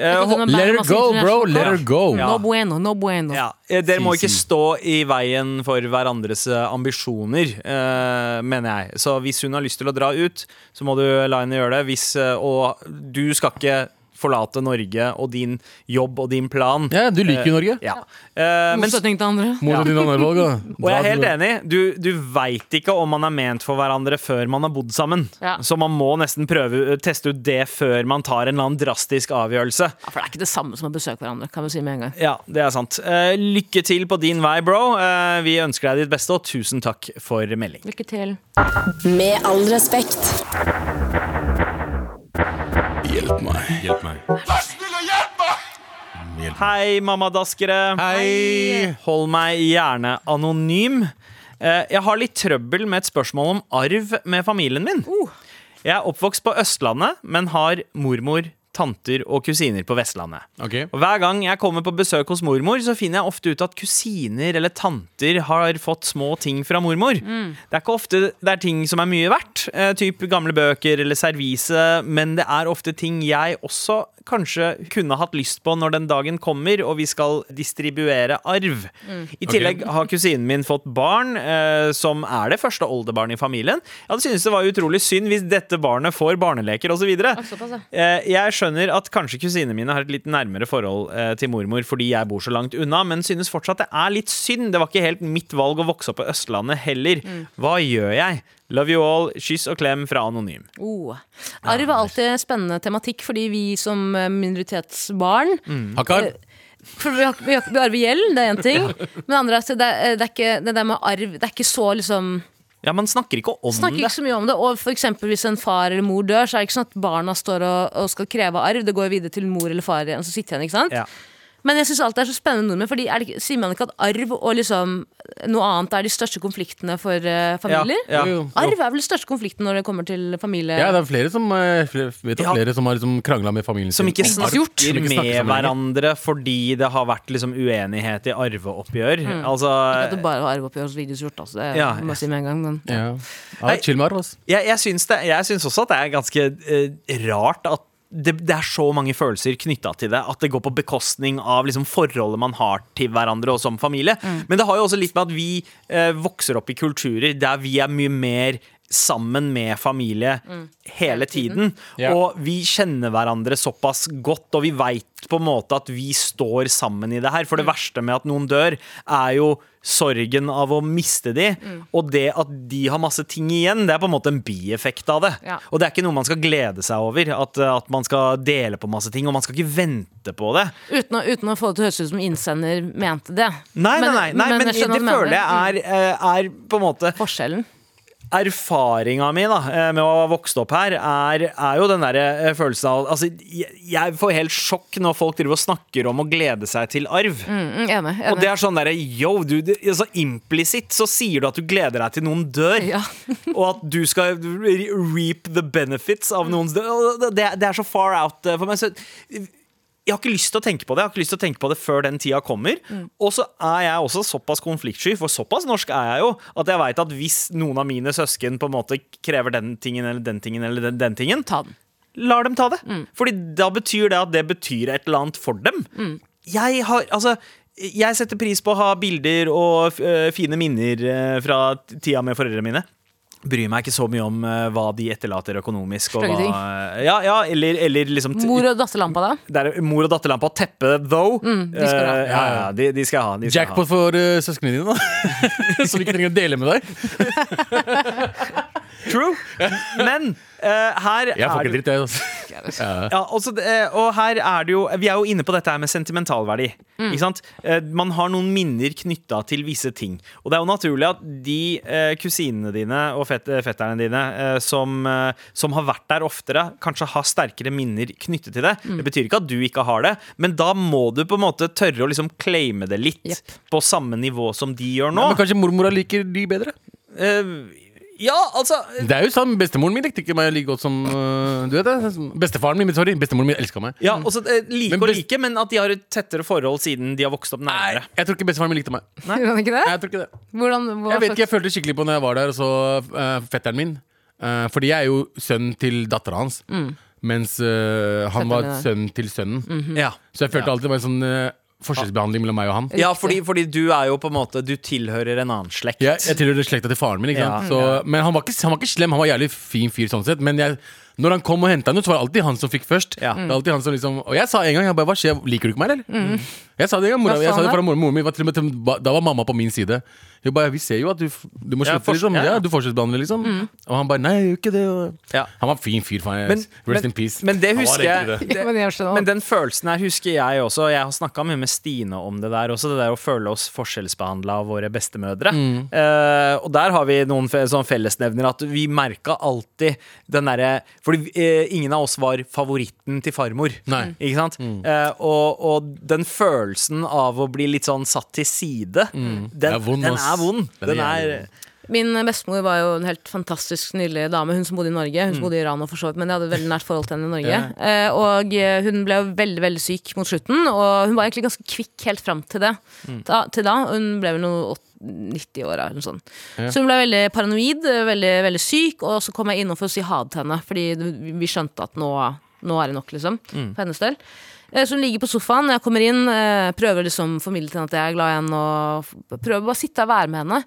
[SPEAKER 2] Eh,
[SPEAKER 4] tror den er
[SPEAKER 3] Let
[SPEAKER 4] bare
[SPEAKER 3] her
[SPEAKER 4] masse
[SPEAKER 3] go, bro!
[SPEAKER 4] internasjonal-
[SPEAKER 3] Let her go!
[SPEAKER 2] Ja.
[SPEAKER 4] No bueno, no bueno.
[SPEAKER 2] Ja, eh, Dere må
[SPEAKER 3] Si,
[SPEAKER 2] ikke
[SPEAKER 3] si.
[SPEAKER 2] stå i veien for hverandres eh, ambisjoner, eh, mener jeg. Så hvis hun har lyst til å dra ut, så må du la henne gjøre det. Hvis, eh, og du skal ikke forlate Norge og din jobb og din plan.
[SPEAKER 3] Ja, du liker jo Norge.
[SPEAKER 2] Ja. Eh, men,
[SPEAKER 4] Motsetning til andre.
[SPEAKER 3] Mot dine andre valg, da.
[SPEAKER 2] <laughs> og jeg er helt
[SPEAKER 3] Dra-
[SPEAKER 2] enig. Du, du veit ikke om man er ment for hverandre før man har bodd sammen.
[SPEAKER 4] Ja.
[SPEAKER 2] Så man må nesten prøve teste ut det før man tar en eller annen drastisk avgjørelse.
[SPEAKER 4] Ja, for det er ikke det samme som å besøke hverandre. Kan vi si med en gang
[SPEAKER 2] Ja, det er sant. Eh, lykke til på din vei, bro. Eh, vi ønsker deg ditt beste, og tusen takk for melding.
[SPEAKER 4] Lykke til.
[SPEAKER 1] Med all respekt.
[SPEAKER 8] Hjelp meg.
[SPEAKER 3] Hjelp meg.
[SPEAKER 2] Hei, mammadaskere.
[SPEAKER 3] Hei!
[SPEAKER 2] Hold meg gjerne anonym. Eh, jeg har litt trøbbel med et spørsmål om arv med familien min. Jeg er oppvokst på Østlandet, men har mormor, tanter og kusiner på Vestlandet.
[SPEAKER 3] Ok.
[SPEAKER 2] Og Hver gang jeg kommer på besøk hos mormor, så finner jeg ofte ut at kusiner eller tanter har fått små ting fra mormor.
[SPEAKER 4] Mm.
[SPEAKER 2] Det er ikke ofte det er ting som er mye verdt, eh, typ gamle bøker eller servise, men det er ofte ting jeg også kanskje kunne hatt lyst på når den dagen kommer og vi skal distribuere arv.
[SPEAKER 4] Mm.
[SPEAKER 2] I tillegg har kusinen min fått barn, eh, som er det første oldebarnet i familien. Jeg hadde syntes det var utrolig synd hvis dette barnet får barneleker osv.
[SPEAKER 4] såpass, ja.
[SPEAKER 2] Eh, Jeg skjønner at kanskje kusinene mine har et litt nærmere forhold eh, til mormor fordi jeg bor så langt unna, men synes
[SPEAKER 4] Mm.
[SPEAKER 2] fortsatt det er litt synd. Det var ikke helt mitt valg å vokse opp på Østlandet heller. Hva gjør jeg? Love you all. Kyss og klem fra Anonym.
[SPEAKER 4] Oh. Arv er alltid spennende tematikk, fordi vi som eh, minoritetsbarn
[SPEAKER 2] Mm.
[SPEAKER 3] Hakar,
[SPEAKER 4] For vi, har, vi, har, vi arver gjeld, det er én ting. Men det andre er at det, er- det er ikke det der med arv Det er ikke så liksom
[SPEAKER 2] Ja, Man snakker ikke om
[SPEAKER 4] Snakker
[SPEAKER 2] det.
[SPEAKER 4] ikke så mye om det. Og for eksempel hvis en far eller mor dør, så er det ikke sånn at barna står og, og skal kreve arv. Det går videre til mor eller far igjen, så sitter igjen, ikke sant?
[SPEAKER 2] Ja.
[SPEAKER 4] Men jeg syns alt er så spennende nordmenn, Fordi er det, ikke- sier man ikke at arv og liksom noe annet er de største konfliktene for eh,
[SPEAKER 2] Ja,
[SPEAKER 4] familier?
[SPEAKER 2] ja.
[SPEAKER 3] Jo, jo.
[SPEAKER 4] Arv er vel den største konflikten når det kommer til familie...
[SPEAKER 3] Ja, det er flere som, eh, flere, vet om
[SPEAKER 2] Ja.
[SPEAKER 3] flere som har liksom krangla med familien
[SPEAKER 2] Som ikke
[SPEAKER 3] sin. om
[SPEAKER 2] snakker
[SPEAKER 3] arv. Som ikke snakker
[SPEAKER 2] med
[SPEAKER 3] sammen lenger.
[SPEAKER 2] hverandre fordi det har vært liksom uenighet i arveoppgjør. Altså,
[SPEAKER 4] Mm. At det bare var arveoppgjørsvideoer gjort, altså. Det
[SPEAKER 2] Ja.
[SPEAKER 4] må jeg si med en gang. Men.
[SPEAKER 3] Ja. Ja,
[SPEAKER 2] Nei.
[SPEAKER 3] chill med arv, ass.
[SPEAKER 2] jeg, jeg, syns det, jeg syns også at det er ganske eh, rart at det, det er så mange følelser knytta til det at det går på bekostning av liksom forholdet man har til hverandre og som familie. Men det har jo også litt med at vi eh, vokser opp i kulturer der vi er mye mer sammen med familie Mm. hele tiden.
[SPEAKER 3] Ja.
[SPEAKER 2] Og vi kjenner hverandre såpass godt, og vi veit på en måte at vi står sammen i det her.
[SPEAKER 4] Mm.
[SPEAKER 2] For det verste med at noen dør, er jo sorgen av å miste de,
[SPEAKER 4] Mm.
[SPEAKER 2] og det at de har masse ting igjen, det er på en måte en bieffekt av det.
[SPEAKER 4] Ja.
[SPEAKER 2] Og det er ikke noe man skal glede seg over, at, eh, at man skal dele på masse ting, og man skal ikke vente på det.
[SPEAKER 4] Uten, å, uten å få det til å høres ut som innsender mente det.
[SPEAKER 2] Nei, nei, nei, nei men,
[SPEAKER 4] jeg skjønner
[SPEAKER 2] det
[SPEAKER 4] hva du
[SPEAKER 2] føler
[SPEAKER 4] mener.
[SPEAKER 2] jeg er, eh, er på en måte
[SPEAKER 4] Mm. Forskjellen.
[SPEAKER 2] erfaringa mi da, eh, med å ha vokst opp her, er, er jo den der eh, følelsen av altså, jeg, jeg får helt sjokk når folk driver og snakker om å glede seg til arv.
[SPEAKER 4] Mm, enig. enig.
[SPEAKER 2] Og det er sånn derre yo, du, det, altså, implisitt så sier du at du gleder deg til noen dør.
[SPEAKER 4] Ja.
[SPEAKER 2] <laughs> og at du skal re- reap the benefits av noens død. Og Det, det- det er så far out eh, for meg. Så jeg har ikke lyst til å tenke på det Jeg har ikke lyst til å tenke på det før den tida kommer. Og så er jeg også såpass konfliktsky, for såpass norsk er jeg jo, at jeg veit at hvis noen av mine søsken på en måte krever den tingen eller den tingen eller den, den tingen,
[SPEAKER 4] Ta den.
[SPEAKER 2] lar dem ta det.
[SPEAKER 4] Mm.
[SPEAKER 2] Fordi da betyr det at det betyr et eller annet for dem.
[SPEAKER 4] Mm.
[SPEAKER 2] Jeg har, altså jeg setter pris på å ha bilder og øh, fine minner øh, fra tida med foreldrene mine. Bryr meg ikke så mye om øh, hva de etterlater økonomisk. Og
[SPEAKER 4] Slagge ting.
[SPEAKER 2] hva, ja, ja, eller, eller liksom t-
[SPEAKER 4] Mor og datterlampa, da?
[SPEAKER 2] det er mor og datterlampa teppe, though.
[SPEAKER 4] Mm, de skal ha.
[SPEAKER 2] Eh, ja, ja, de, de skal ha. De skal
[SPEAKER 3] Jackpot for eh, søsknene dine, da. <laughs> Som ikke trenger å dele med deg.
[SPEAKER 2] ha. True. Men eh, her
[SPEAKER 3] Jeg får
[SPEAKER 2] er
[SPEAKER 3] ikke
[SPEAKER 2] det-
[SPEAKER 3] dritt, jeg. Altså.
[SPEAKER 2] <laughs> ja, også, det- eh, og her er det jo Vi er jo inne på dette her med sentimentalverdi. Ikke sant? Eh, Man har noen minner knytta til visse ting. Og det er jo naturlig at de eh, kusinene dine og fet eh, fetterne dine eh, som, eh, som har vært der oftere, kanskje har sterkere minner knyttet til det. Det betyr ikke at du ikke har det, men da må du på en måte tørre å liksom claime det litt.
[SPEAKER 4] Jepp.
[SPEAKER 2] På samme nivå som de gjør nå.
[SPEAKER 3] Men kanskje mormora liker de bedre?
[SPEAKER 2] Eh, ja, altså
[SPEAKER 3] Det er jo sånn, Bestemoren min likte ikke meg like godt som eh, Du vet det? Bestefaren min, men sorry. Bestemoren min elska meg.
[SPEAKER 2] ja, også, eh, Like
[SPEAKER 3] Men
[SPEAKER 2] og
[SPEAKER 3] best-
[SPEAKER 2] like, men at de har et tettere forhold siden de har vokst opp nærmere.
[SPEAKER 3] Jeg tror ikke bestefaren min likte meg.
[SPEAKER 4] Gjorde han ikke det?
[SPEAKER 3] Jeg tror ikke det
[SPEAKER 4] Hvordan, <laughs>
[SPEAKER 3] Jeg
[SPEAKER 4] hva
[SPEAKER 3] vet ikke,
[SPEAKER 4] slags-
[SPEAKER 3] jeg følte skikkelig på når jeg var der, og så eh, fetteren min. Eh, fordi jeg er jo sønnen til dattera hans. Mens eh, han
[SPEAKER 4] Mm. Fetteren
[SPEAKER 3] var
[SPEAKER 4] din er- Mhm.
[SPEAKER 3] sønnen til sønnen.
[SPEAKER 2] Ja.
[SPEAKER 3] Så jeg følte alltid det var en sånn eh, forskjellsbehandling mellom meg og han.
[SPEAKER 2] Ja, fordi, fordi du er jo på en måte Du tilhører en annen slekt.
[SPEAKER 3] Jeg, jeg tilhører slekta til faren min. Ikke
[SPEAKER 2] Ja.
[SPEAKER 3] sant? Så, men han var ikke, han var ikke slem, han var jævlig fin fyr sånn sett. Men jeg, når han kom og henta henne, så var det alltid han som fikk først.
[SPEAKER 2] Ja.
[SPEAKER 3] Det var alltid han som liksom Og jeg sa en gang jeg bare, Hva skjer, liker du ikke meg, eller?
[SPEAKER 2] Mm.
[SPEAKER 3] Jeg sa det en gang, mora,
[SPEAKER 4] Hva sa
[SPEAKER 3] jeg sa
[SPEAKER 4] han
[SPEAKER 3] det
[SPEAKER 4] da?
[SPEAKER 3] foran moren, moren min. var til og med til- Da var mamma på min side. Hun bare Vi ser jo at du, f- du må
[SPEAKER 2] Ja,
[SPEAKER 3] slutte,
[SPEAKER 2] fors-
[SPEAKER 3] liksom.
[SPEAKER 2] ja, ja. Mm.
[SPEAKER 3] Ja, du forskjellsbehandler, liksom. Og han bare Nei, jeg gjør ikke det. Og...
[SPEAKER 2] Ja.
[SPEAKER 3] Han var en fin fyr, faen.
[SPEAKER 2] Men,
[SPEAKER 3] Rest
[SPEAKER 2] men,
[SPEAKER 3] in peace.
[SPEAKER 2] men det
[SPEAKER 3] Han var
[SPEAKER 2] husker
[SPEAKER 3] egentlig
[SPEAKER 2] jeg,
[SPEAKER 3] det.
[SPEAKER 2] det,
[SPEAKER 4] <laughs> Men jeg skjønner.
[SPEAKER 2] men den følelsen her husker jeg også. og Jeg har snakka mye med Stine om det der også. Det der å føle oss forskjellsbehandla av våre bestemødre.
[SPEAKER 4] Mm.
[SPEAKER 2] Eh, og der har vi noen fe sånn fellesnevner. At vi merka alltid den derre Fordi eh, ingen av oss var favoritten til farmor.
[SPEAKER 3] Nei.
[SPEAKER 2] Ikke sant?
[SPEAKER 4] Mm.
[SPEAKER 2] Eh, og, og den følelsen av å bli litt sånn satt til side,
[SPEAKER 4] Mm.
[SPEAKER 2] den,
[SPEAKER 3] er vond,
[SPEAKER 2] den
[SPEAKER 3] ass.
[SPEAKER 2] er vond.
[SPEAKER 3] Den er
[SPEAKER 2] Den er,
[SPEAKER 3] jævlig
[SPEAKER 4] Min bestemor var jo en helt fantastisk nydelig dame. Hun som bodde i Norge. Hun som bodde i Iran, og for så vidt, men jeg hadde et veldig nært forhold til henne i Norge.
[SPEAKER 3] Ja.
[SPEAKER 4] Eh, og eh, hun ble jo veldig veldig syk mot slutten, og hun var egentlig ganske kvikk helt fram til det. Da, til da, Hun ble vel noe åt- 90 år eller noe sånt. Så hun ble veldig paranoid, eh, veldig, veldig syk, og så kom jeg innom for å si ha det til henne, fordi vi- vi skjønte at nå, nå er det nok, liksom. For hennes del. Eh, Så hun ligger på sofaen, jeg kommer inn, eh, prøver liksom å formidle til henne at jeg er glad i henne, og f- prøver bare å sitte og være med henne.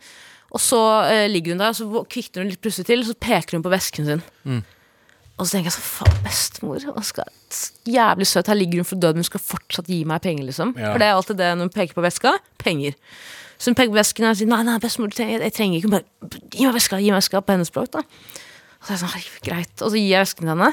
[SPEAKER 4] Og så eh, ligger hun der, og så vå- kvikner hun litt plutselig til, og så peker hun på vesken sin. Og så tenker jeg sånn, faen, bestemor. Og skal, jævlig søt. Her ligger hun for døden, men hun skal fortsatt gi meg penger, liksom.
[SPEAKER 3] Ja.
[SPEAKER 4] For det er alltid det når hun peker på veska. Penger. Så hun peker på vesken og sier nei, nei, bestemor, du trenger, jeg trenger ikke. Hun bare gi meg veska, gi meg veska på hennes språk, da. Og så er jeg sånn, herregud, greit. Og så gir jeg vesken til henne.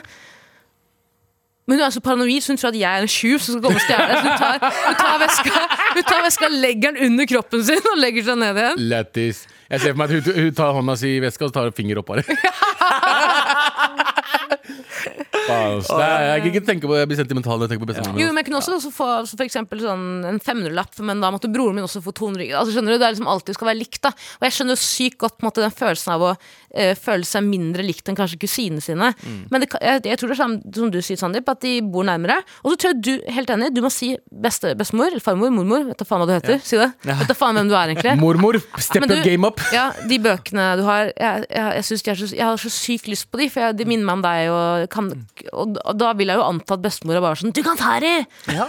[SPEAKER 4] Men hun er så paranoid, så hun tror at jeg er en tjuv som skal komme og stjele. Så hun tar, hun tar veska, hun tar veska, legger den under kroppen sin og legger seg ned igjen.
[SPEAKER 3] Lættis. Jeg ser for meg at hun, hun tar hånda si i veska og så tar hun
[SPEAKER 2] <laughs>
[SPEAKER 3] finger opp bare. Faen, ass. Nei, jeg kan ikke tenke på det. Jeg blir sentimental når jeg tenker på bestemoren
[SPEAKER 4] Jo,
[SPEAKER 3] min.
[SPEAKER 4] men jeg kunne også også få så for eksempel sånn en 500-lapp, men da måtte broren min også få 200. Altså, skjønner du, Det er liksom alltid skal være likt. da Og jeg skjønner jo sykt godt på en måte, den følelsen av å eh, føle seg mindre likt enn kanskje kusinene sine. Men det, kan- jeg, jeg tror det er samme som du sier, Sandeep, at de bor nærmere. Og så tror jeg du, helt enig, du må si beste, bestemor, eller farmor, mormor, vet da faen hva du heter. Si det. Vet da faen hvem du er, egentlig.
[SPEAKER 3] Mormor, step
[SPEAKER 4] Men
[SPEAKER 3] your
[SPEAKER 4] du-
[SPEAKER 3] game
[SPEAKER 4] <laughs>
[SPEAKER 3] up!
[SPEAKER 4] Ja, de bøkene du har Jeg, jeg, jeg, synes de er så, jeg har så sykt lyst på de For jeg, de minner meg om deg og, kan, og, og da vil jeg jo anta at bestemora bare var sånn Du kan ta det!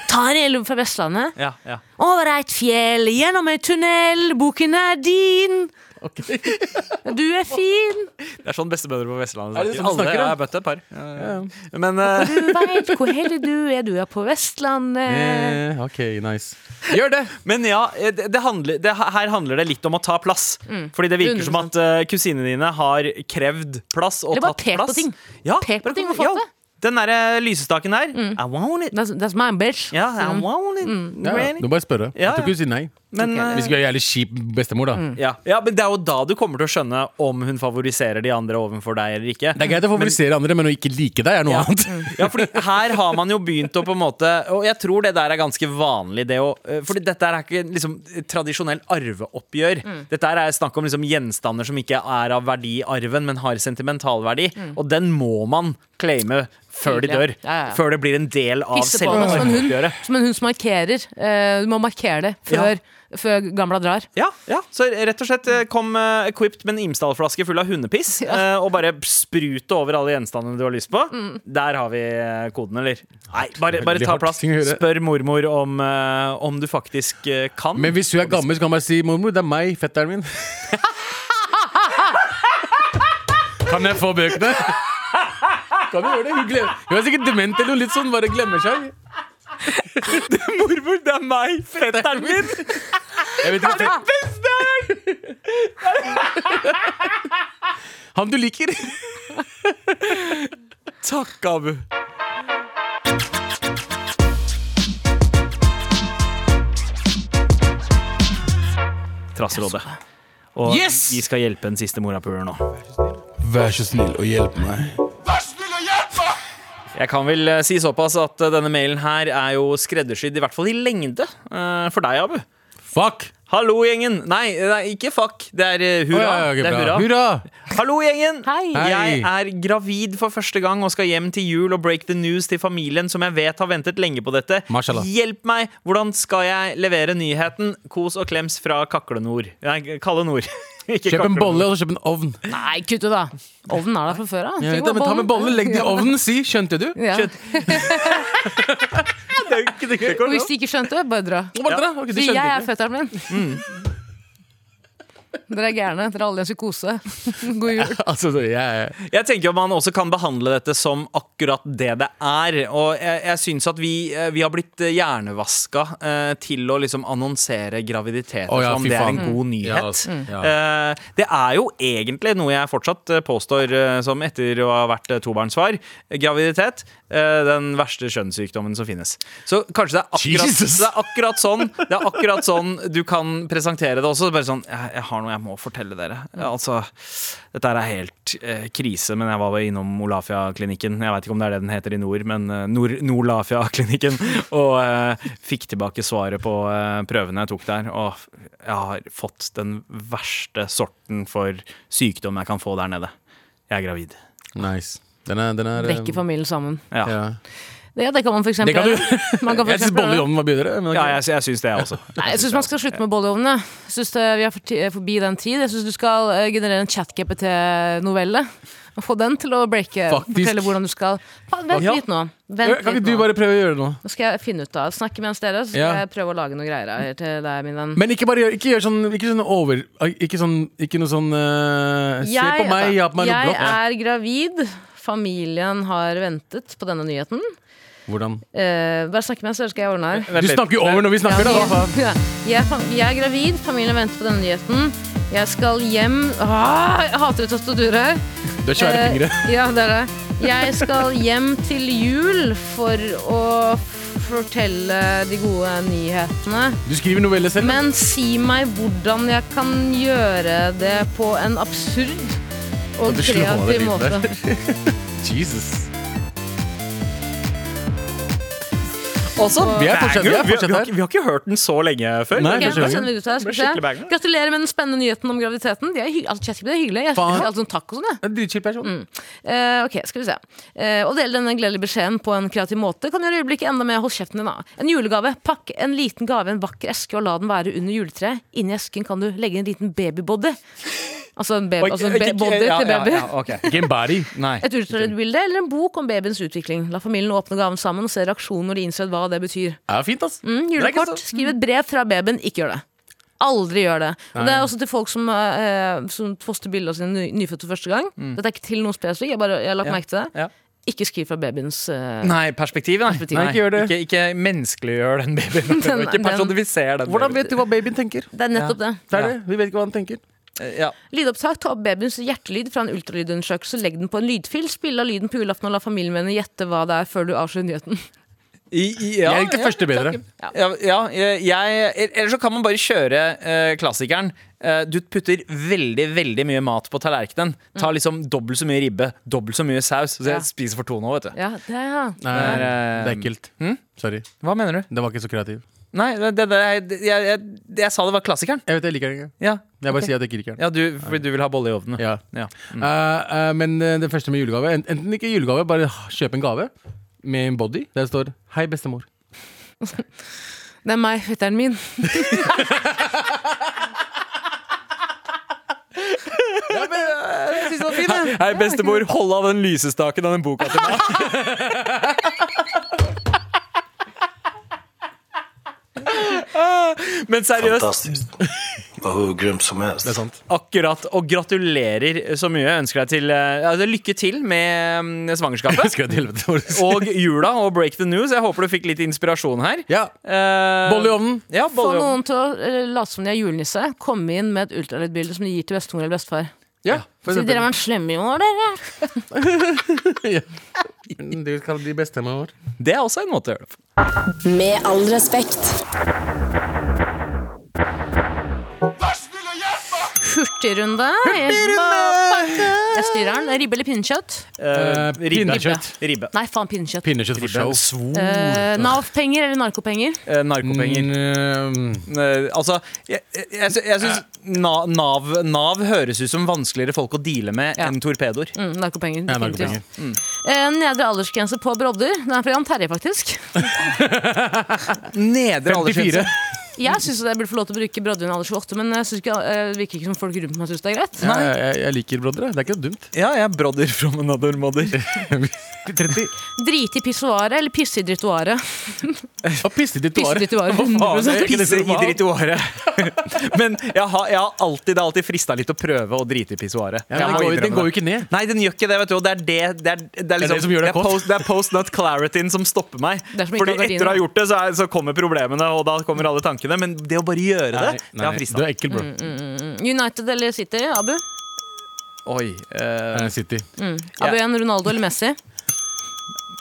[SPEAKER 4] Ta det, eller fra Vestlandet
[SPEAKER 2] Ja, ja.
[SPEAKER 4] Over et fjell, gjennom en tunnel Boken er din Du er fin
[SPEAKER 2] Det er sånn bestemødre på Vestlandet
[SPEAKER 3] Er det
[SPEAKER 2] snakker.
[SPEAKER 3] sånn de snakker,
[SPEAKER 2] Alle
[SPEAKER 3] ja?
[SPEAKER 2] er bøtte par. Ja, ja. Men eh,
[SPEAKER 4] Du vet hvor heldig du er Du er på Vestlandet
[SPEAKER 3] Eh, ok, nice.
[SPEAKER 2] Gjør det! Men ja, eh, det, det handler, det, her handler det litt om å ta plass.
[SPEAKER 4] Mm.
[SPEAKER 2] Fordi det virker som at eh, kusinene dine har krevd plass og
[SPEAKER 4] Eller bare
[SPEAKER 2] tatt
[SPEAKER 4] pekt på
[SPEAKER 2] plass.
[SPEAKER 4] ting.
[SPEAKER 2] Ja,
[SPEAKER 4] Pek på
[SPEAKER 2] bare
[SPEAKER 4] ting Mm.
[SPEAKER 2] kom-
[SPEAKER 4] og fått
[SPEAKER 2] ja,
[SPEAKER 4] det.
[SPEAKER 2] Den derre lysestaken der. I want it.
[SPEAKER 4] That's, that's my bitch
[SPEAKER 2] Ja, I want it.
[SPEAKER 4] Mm.
[SPEAKER 3] Ja, ja.
[SPEAKER 2] Really?
[SPEAKER 3] Du må bare spørre.
[SPEAKER 2] Ja, Mm.
[SPEAKER 3] Jeg tror ikke hun sier nei.
[SPEAKER 2] Men,
[SPEAKER 4] Ok,
[SPEAKER 3] Vi
[SPEAKER 2] eh,
[SPEAKER 3] skal være jævlig kjip bestemor, da.
[SPEAKER 2] ja. ja, men det er jo da du kommer til å skjønne om hun favoriserer de andre overfor deg eller ikke.
[SPEAKER 3] Det er greit å favorisere andre, men å ikke like deg er noe annet.
[SPEAKER 2] Ja, Mm. fordi her har man jo begynt å på en måte Og jeg tror det der er ganske vanlig det å eh, Fordi dette er ikke liksom tradisjonell arveoppgjør
[SPEAKER 4] Mm.
[SPEAKER 2] Dette her er snakk om liksom gjenstander som ikke er av verdi i arven Men har sentimental verdi Og den må man claime før de
[SPEAKER 4] Tidlig, Mm. ja.
[SPEAKER 2] dør
[SPEAKER 4] Ja, ja, ja.
[SPEAKER 2] Før det blir en del av
[SPEAKER 4] Pisse på den
[SPEAKER 2] selve
[SPEAKER 4] som en hund,
[SPEAKER 2] arveoppgjøret
[SPEAKER 4] som en hund som markerer Eh, Du må markere det før, før gamla drar
[SPEAKER 2] Ja, ja, så rett og slett eh, kom eh, equipped med en Imsdal-flaske full av hundepiss eh, og bare sprute over alle gjenstandene du har lyst på. Der har vi eh, koden, eller? Nei, bare, bare
[SPEAKER 3] Veldig
[SPEAKER 2] ta
[SPEAKER 3] hardt
[SPEAKER 2] plass.
[SPEAKER 3] ting å gjøre.
[SPEAKER 2] Spør mormor om, eh, om du faktisk eh, kan.
[SPEAKER 3] Men hvis hun er gammel, så kan man bare si 'mormor, det er meg, fetteren min'. <laughs> Kan jeg få bøkene? <laughs> Kan du gjøre det? Hun, glem- hun er sikkert dement eller noe litt sånn, bare glemmer seg.
[SPEAKER 2] mormor, det er meg! Fetteren min!
[SPEAKER 3] Jeg vet ikke, han du liker.
[SPEAKER 2] Takk, Abu. Trasserådet. Og
[SPEAKER 3] Yes!
[SPEAKER 2] vi skal hjelpe en siste morapuler nå.
[SPEAKER 8] Vær så snill og hjelp meg.
[SPEAKER 2] Jeg kan vel eh, si såpass at eh, denne mailen her er jo skreddersydd, i hvert fall i lengde, eh, for deg, Abu.
[SPEAKER 3] Fuck!
[SPEAKER 2] Hallo, gjengen. Nei, det er ikke fuck. Det er eh, hurra.
[SPEAKER 3] Å, ja, ok,
[SPEAKER 2] det er
[SPEAKER 3] bra.
[SPEAKER 2] hurra.
[SPEAKER 3] Hurra!
[SPEAKER 2] Hallo, gjengen.
[SPEAKER 4] Hei.
[SPEAKER 2] Jeg
[SPEAKER 3] Hei.
[SPEAKER 2] er gravid for første gang og skal hjem til jul og break the news til familien som jeg vet har ventet lenge på dette.
[SPEAKER 3] Mashallah.
[SPEAKER 2] Hjelp meg! Hvordan skal jeg levere nyheten? Kos og klems fra Kakle Nord. Nei, Kalle Nord. <laughs> Ikke
[SPEAKER 3] Kjøp en
[SPEAKER 2] Kakle
[SPEAKER 3] bolle
[SPEAKER 2] Nord.
[SPEAKER 3] og så kjøp en ovn.
[SPEAKER 4] Nei, kutt ut da Ovnen er der fra før da
[SPEAKER 3] Jeg vet det, men ta med bolle, legg det i ovnen, si. Skjønte du?
[SPEAKER 4] Ja.
[SPEAKER 2] Skjønt. Det er jo ikke- det er ikke
[SPEAKER 4] Og hvis de ikke skjønte, bare dra.
[SPEAKER 3] Bare dra. Ok, du
[SPEAKER 4] Si
[SPEAKER 3] skjønte
[SPEAKER 4] jeg er
[SPEAKER 3] ikke. Mm.
[SPEAKER 4] fetteren min. Dere er gærne. Dere er alle i en
[SPEAKER 3] <laughs>
[SPEAKER 4] psykose. God jul.
[SPEAKER 3] <laughs> Altså, så jeg,
[SPEAKER 2] Jeg tenker jo man også kan behandle dette som akkurat det det er. Og jeg, jeg syns at vi, eh, vi har blitt eh, hjernevaska eh, til å liksom annonsere graviditeter
[SPEAKER 3] Å ja,
[SPEAKER 2] som
[SPEAKER 3] fy
[SPEAKER 2] det er en
[SPEAKER 3] faen.
[SPEAKER 2] god
[SPEAKER 3] Ja,
[SPEAKER 2] nyhet.
[SPEAKER 3] altså, ja.
[SPEAKER 2] Eh, det er jo egentlig noe jeg fortsatt eh, påstår eh, som etter å ha vært eh, tobarnsfar. Graviditet. eh, den verste kjønnssykdommen som finnes. Så kanskje det er akkurat,
[SPEAKER 3] Jesus.
[SPEAKER 2] det er akkurat sånn Det er akkurat sånn du kan presentere det også. Bare sånn Jeg, jeg har noe jeg må fortelle dere. Altså dette her er helt eh, krise, men jeg var jo innom Olafia-klinikken. Jeg veit ikke om det er det den heter i nord, men eh, Nor Nordlafia-klinikken. <laughs> Og eh, fikk tilbake svaret på eh, prøvene jeg tok der. Og jeg har fått den verste sorten for sykdom jeg kan få der nede. Jeg er gravid.
[SPEAKER 3] nice. Den er, den er
[SPEAKER 4] Brekke familien sammen.
[SPEAKER 2] Ja, ja,
[SPEAKER 3] ja.
[SPEAKER 4] Det, det kan man for eksempel
[SPEAKER 3] Det kan du.
[SPEAKER 4] gjøre. Man kan for
[SPEAKER 3] Jeg syns
[SPEAKER 4] eksempel
[SPEAKER 3] bolle i
[SPEAKER 4] gjøre det.
[SPEAKER 3] ovnen var bedre. Men ok.
[SPEAKER 2] jeg, sy- jeg syns det, jeg også.
[SPEAKER 4] Nei, jeg syns man skal slutte med bolleovnene. Jeg synes det, Vi er for ti- forbi den tid. Jeg syns du skal eh, generere en chat-GPT-novelle. Og få den til å breake.
[SPEAKER 3] Faktisk.
[SPEAKER 4] Fortelle hvordan du skal Pa- Vent
[SPEAKER 2] Ja.
[SPEAKER 4] litt nå. Vent
[SPEAKER 3] Kan ikke
[SPEAKER 4] litt
[SPEAKER 3] du
[SPEAKER 4] nå.
[SPEAKER 3] bare prøve å gjøre det nå?
[SPEAKER 4] nå skal jeg finne ut av Snakke mens dere, så skal
[SPEAKER 3] Ja.
[SPEAKER 4] jeg prøve å lage noen greier her til deg, min venn.
[SPEAKER 3] Men ikke bare gjør, ikke gjør sånn Ikke sånn over Ikke, sånn, ikke noe sånn eh, Se på meg, jeg har på meg noe
[SPEAKER 4] jeg
[SPEAKER 3] blått.
[SPEAKER 4] er gravid Familien har ventet på denne nyheten.
[SPEAKER 3] Hvordan?
[SPEAKER 4] Eh, bare snakk med meg, så skal jeg ordne her.
[SPEAKER 2] Vent
[SPEAKER 3] Du
[SPEAKER 2] litt.
[SPEAKER 3] snakker jo over når vi
[SPEAKER 4] Ja,
[SPEAKER 3] snakker, da!
[SPEAKER 4] jeg- ja. jeg, er fam- jeg er gravid, familien venter på denne nyheten. Jeg skal hjem ah, Jeg hater et tastatur her.
[SPEAKER 3] Du har svære
[SPEAKER 4] Eh,
[SPEAKER 3] fingre.
[SPEAKER 4] <laughs> Ja, det er det. Jeg skal hjem til jul for å f- fortelle de gode nyhetene.
[SPEAKER 3] Du skriver noveller selv.
[SPEAKER 4] Men si meg hvordan jeg kan gjøre det på en absurd og
[SPEAKER 3] Du slår av
[SPEAKER 4] kreativ
[SPEAKER 3] den lyden
[SPEAKER 4] måte.
[SPEAKER 3] Jesus.
[SPEAKER 2] Også,
[SPEAKER 3] Vi er
[SPEAKER 2] banger.
[SPEAKER 3] fortsatt- vi er
[SPEAKER 2] Vi har-
[SPEAKER 3] fortsatt
[SPEAKER 2] vi har
[SPEAKER 3] her.
[SPEAKER 2] ikke- vi har ikke hørt den så lenge før.
[SPEAKER 3] Nei,
[SPEAKER 4] Ok,
[SPEAKER 3] kanskje
[SPEAKER 4] da
[SPEAKER 2] sånn
[SPEAKER 3] vi-
[SPEAKER 4] sender vi det ut her, skal
[SPEAKER 2] Men
[SPEAKER 4] vi se.
[SPEAKER 2] skikkelig banger.
[SPEAKER 4] Gratulerer med den spennende nyheten om graviditeten. Det er, hy altså, jeg synes ikke det er hyggelig. Jeg
[SPEAKER 3] Faen.
[SPEAKER 4] spiser alt sånn taco og sånn, jeg.
[SPEAKER 3] Dritchill person.
[SPEAKER 4] Eh, ok, skal vi se. Eh, å dele denne gledelige beskjeden på en kreativ måte kan gjøre øyeblikket enda mer hold kjeften din. da. En julegave. Pakk en liten gave i en vakker eske og la den være under juletreet. Inni esken kan du legge en liten babybody. Altså en, baby,
[SPEAKER 2] Oi,
[SPEAKER 4] altså en ba-
[SPEAKER 2] ikke-
[SPEAKER 4] body
[SPEAKER 2] ja,
[SPEAKER 4] til
[SPEAKER 2] ja,
[SPEAKER 4] <laughs> baby.
[SPEAKER 2] ja, ok.
[SPEAKER 3] Gambari.
[SPEAKER 2] Nei.
[SPEAKER 4] Et utrettet bilde eller en bok om babyens utvikling. La familien åpne gaven sammen og se reaksjonen når de innser hva det betyr.
[SPEAKER 3] Er fint, ass.
[SPEAKER 4] Mm,
[SPEAKER 3] Det er ikke
[SPEAKER 4] julekort.
[SPEAKER 3] så-
[SPEAKER 4] Skriv et brev fra babyen. Ikke gjør det. Aldri gjør det. Og det er også til folk som, eh, som poster bilder av sine ny- nyfødte første gang.
[SPEAKER 3] Mm.
[SPEAKER 4] Dette er ikke til noen spesifikt. Jeg, bare- jeg har lagt
[SPEAKER 2] Ja,
[SPEAKER 4] merke til det.
[SPEAKER 2] ja.
[SPEAKER 4] Ikke skriv fra babyens eh,
[SPEAKER 2] Nei, perspektivet. Nei.
[SPEAKER 4] Perspektiv.
[SPEAKER 2] Nei,
[SPEAKER 4] Nei,
[SPEAKER 2] ikke gjør det. Ikke, ikke menneskeliggjør den babyen.
[SPEAKER 4] Den-
[SPEAKER 2] ikke personifiser den.
[SPEAKER 3] Hvordan vet du hva babyen tenker?
[SPEAKER 4] Det er nettopp det.
[SPEAKER 3] Det er det. Vi vet ikke hva han tenker.
[SPEAKER 2] Ja.
[SPEAKER 4] Lydopptak. Ta opp babyens hjertelyd fra en ultralydundersøkelse, legg den på en lydfil, spill av lyden på julaften og la familiemennene gjette hva det er før du avslører nyheten.
[SPEAKER 2] I, i, ja,
[SPEAKER 3] jeg likte
[SPEAKER 2] ja.
[SPEAKER 3] første bedre.
[SPEAKER 2] Ja, ja jeg, jeg- Eller så kan man bare kjøre eh, klassikeren. Eh, du putter veldig veldig mye mat på tallerkenen. Ta liksom dobbelt så mye ribbe, dobbelt så mye saus. Så
[SPEAKER 4] Ja.
[SPEAKER 2] jeg spiser for to nå, vet du.
[SPEAKER 4] Ja, det er, ja.
[SPEAKER 3] Nei,
[SPEAKER 2] Det er,
[SPEAKER 3] det
[SPEAKER 2] eh,
[SPEAKER 3] er hm? ekkelt. Sorry.
[SPEAKER 2] Hva mener du?
[SPEAKER 3] Det var ikke så kreativ.
[SPEAKER 2] Nei, det, det, det, jeg, jeg, jeg, jeg sa det var klassikeren.
[SPEAKER 3] Jeg vet jeg liker den ikke.
[SPEAKER 2] Ja,
[SPEAKER 3] Jeg bare sier at jeg ikke liker den.
[SPEAKER 2] ja du, fordi du vil ha bolle i ovnen.
[SPEAKER 3] Ja.
[SPEAKER 2] Ja.
[SPEAKER 3] Eh, eh, men eh, det første med julegave en- Enten ikke julegave, bare h- kjøp en gave med en body der det står 'Hei, bestemor'.
[SPEAKER 4] Det er meg, fetteren min.
[SPEAKER 2] Hei, bestemor, hold av den lysestaken av den boka til meg. Men seriøst,
[SPEAKER 5] Fantastiskt. Var hur grymt som helst.
[SPEAKER 3] Det er sant.
[SPEAKER 2] akkurat. Og gratulerer så mye. Jeg ønsker deg til, eh, altså, lykke til med mm, svangerskapet.
[SPEAKER 3] Skal <laughs> jeg til <laughs> helvete hvor du sier.
[SPEAKER 2] Og jula og Break the News. Jeg håper du fikk litt inspirasjon her.
[SPEAKER 3] Ja.
[SPEAKER 2] Eh,
[SPEAKER 3] Bolle i ovnen.
[SPEAKER 2] Ja,
[SPEAKER 4] Få
[SPEAKER 2] bolle i ovnen.
[SPEAKER 4] noen til å eh, late som de er julenisse. Komme inn med et ultralydbilde som de gir til bestemor eller bestefar.
[SPEAKER 3] Ja, for
[SPEAKER 4] Så
[SPEAKER 3] eksempel.
[SPEAKER 4] dere var en slemme i år, dere.
[SPEAKER 3] Mm, Du skal bli bestemor.
[SPEAKER 2] Det er også en måte å gjøre det på.
[SPEAKER 1] Med all respekt.
[SPEAKER 4] Hurtigrunde. Jeg styrer den. Ribbe eller pinnekjøtt?
[SPEAKER 2] Eh, ribbe.
[SPEAKER 3] pinnekjøtt.
[SPEAKER 2] Ribbe.
[SPEAKER 4] Nei, faen pinnekjøtt.
[SPEAKER 3] Pinnekjøtt for show.
[SPEAKER 2] Svor.
[SPEAKER 4] Eh, Nav-penger eller narkopenger?
[SPEAKER 2] Eh, narkopenger.
[SPEAKER 3] Mm,
[SPEAKER 2] Eh, altså, jeg, jeg, sy- jeg syns Na- NAV, NAV høres ut som vanskeligere folk å deale med
[SPEAKER 4] Ja.
[SPEAKER 2] enn torpedoer.
[SPEAKER 4] Mm, narkopenger.
[SPEAKER 3] ja,
[SPEAKER 4] definitivt.
[SPEAKER 3] narkopenger.
[SPEAKER 4] Eh, Nedre aldersgrense på brodder. Den er fra Jan Terje, faktisk.
[SPEAKER 2] Nedre
[SPEAKER 3] 54.
[SPEAKER 2] aldersgrense.
[SPEAKER 4] Jeg syns jeg burde få lov til å bruke brodder under alder 28, men jeg synes ikke, eh, det virker ikke som folk rundt meg syns det er greit.
[SPEAKER 3] Ja, jeg, jeg- jeg liker broddere. Det er ikke så dumt.
[SPEAKER 2] Ja, jeg er brodder from another
[SPEAKER 3] <laughs>
[SPEAKER 2] mother.
[SPEAKER 3] 30.
[SPEAKER 4] Drite i pissoaret eller pisse i drittoaret?
[SPEAKER 3] Og pisse i ditt
[SPEAKER 4] Pisse
[SPEAKER 3] hår.
[SPEAKER 4] i drittoaret.
[SPEAKER 2] Faen,
[SPEAKER 4] 100
[SPEAKER 3] ikke det
[SPEAKER 2] Pisse i
[SPEAKER 3] normalt?
[SPEAKER 2] drittoaret. <laughs> Men jeg har, jeg har alltid, det har alltid frista litt å prøve å drite i pissoaret.
[SPEAKER 3] Ja, men
[SPEAKER 2] Jeg
[SPEAKER 3] den,
[SPEAKER 2] må
[SPEAKER 3] går, jo- den
[SPEAKER 2] innrømme
[SPEAKER 3] går jo
[SPEAKER 2] det.
[SPEAKER 3] ikke ned.
[SPEAKER 2] Nei, den gjør ikke det. vet du Og det er det Det er, det er, liksom,
[SPEAKER 3] som gjør deg kåt.
[SPEAKER 2] post, det er post nut clarityen som stopper meg.
[SPEAKER 4] Det er som ikke
[SPEAKER 2] Fordi
[SPEAKER 4] å ha gardiner.
[SPEAKER 2] etter å ha gjort det, så, er, så kommer problemene, og da kommer alle tankene. Men det å bare gjøre det, det har
[SPEAKER 3] du
[SPEAKER 2] frista.
[SPEAKER 3] er ekkel, bro.
[SPEAKER 4] Mm, United eller City? Abu?
[SPEAKER 2] Oi. eh,
[SPEAKER 3] Eh, City.
[SPEAKER 4] Abu igjen, Ronaldo eller Messi?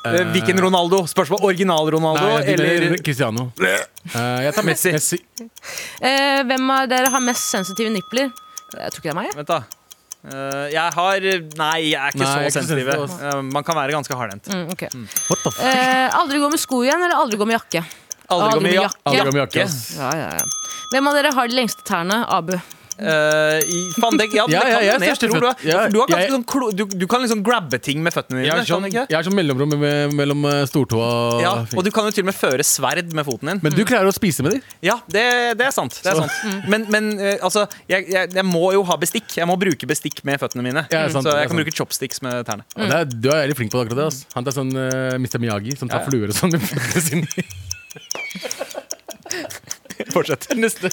[SPEAKER 2] Eh, Hvilken Ronaldo? Spørsmål original-Ronaldo
[SPEAKER 3] Nei, jeg
[SPEAKER 2] eller
[SPEAKER 3] dealer Cristiano. Eh, jeg tar Messi. Messi.
[SPEAKER 4] Eh, hvem av dere har mest sensitive nipler? Jeg tror ikke det er meg. jeg.
[SPEAKER 2] Vent, da. Eh, jeg har Nei, jeg er ikke
[SPEAKER 3] Nei, jeg er ikke
[SPEAKER 2] så sensitiv.
[SPEAKER 3] sensitiv, ass.
[SPEAKER 2] Eh, man kan være ganske hardhendt.
[SPEAKER 4] Mm, ok.
[SPEAKER 3] What the fuck?
[SPEAKER 4] eh, aldri gå med sko igjen, eller aldri gå med jakke?
[SPEAKER 2] Aldri gå med
[SPEAKER 4] Aldri
[SPEAKER 2] ja.
[SPEAKER 4] med
[SPEAKER 3] Alle går med
[SPEAKER 2] Jakke.
[SPEAKER 3] jakke. ass.
[SPEAKER 4] Ja, ja, ja. Hvem av dere har de lengste tærne? Abu.
[SPEAKER 2] Eh, i- Faen, det, ja, det
[SPEAKER 3] Ja,
[SPEAKER 2] kan
[SPEAKER 3] ja, jeg er
[SPEAKER 2] hende. jeg tror du,
[SPEAKER 3] størstefødt. Ja,
[SPEAKER 2] er, du, har ganske
[SPEAKER 3] jeg-
[SPEAKER 2] sånn klo, du, du kan liksom grabbe ting med føttene dine.
[SPEAKER 3] Jeg
[SPEAKER 2] kan
[SPEAKER 3] har sånn,
[SPEAKER 2] du ikke?
[SPEAKER 3] jeg har sånn mellomrom med, mellom eh, stortåa og
[SPEAKER 2] Ja, og du kan jo til og med føre sverd med foten din.
[SPEAKER 3] Men du klarer å spise med dem.
[SPEAKER 2] Ja, det, det er sant. Det er
[SPEAKER 3] Så-
[SPEAKER 2] sant. Men, men eh, altså, jeg, jeg, jeg må jo ha bestikk. Jeg må bruke bestikk med føttene mine.
[SPEAKER 3] Ja, det er sant,
[SPEAKER 2] så
[SPEAKER 3] det er
[SPEAKER 2] jeg kan
[SPEAKER 3] sant.
[SPEAKER 2] bruke chopsticks med tærne.
[SPEAKER 3] Og det er, du er veldig flink på det akkurat det. Ass. Han er sånn eh, Mr. Miyagi som tar
[SPEAKER 2] Ja, ja.
[SPEAKER 3] fluer og sånn med føttene sine. <laughs> Fortsett. Neste.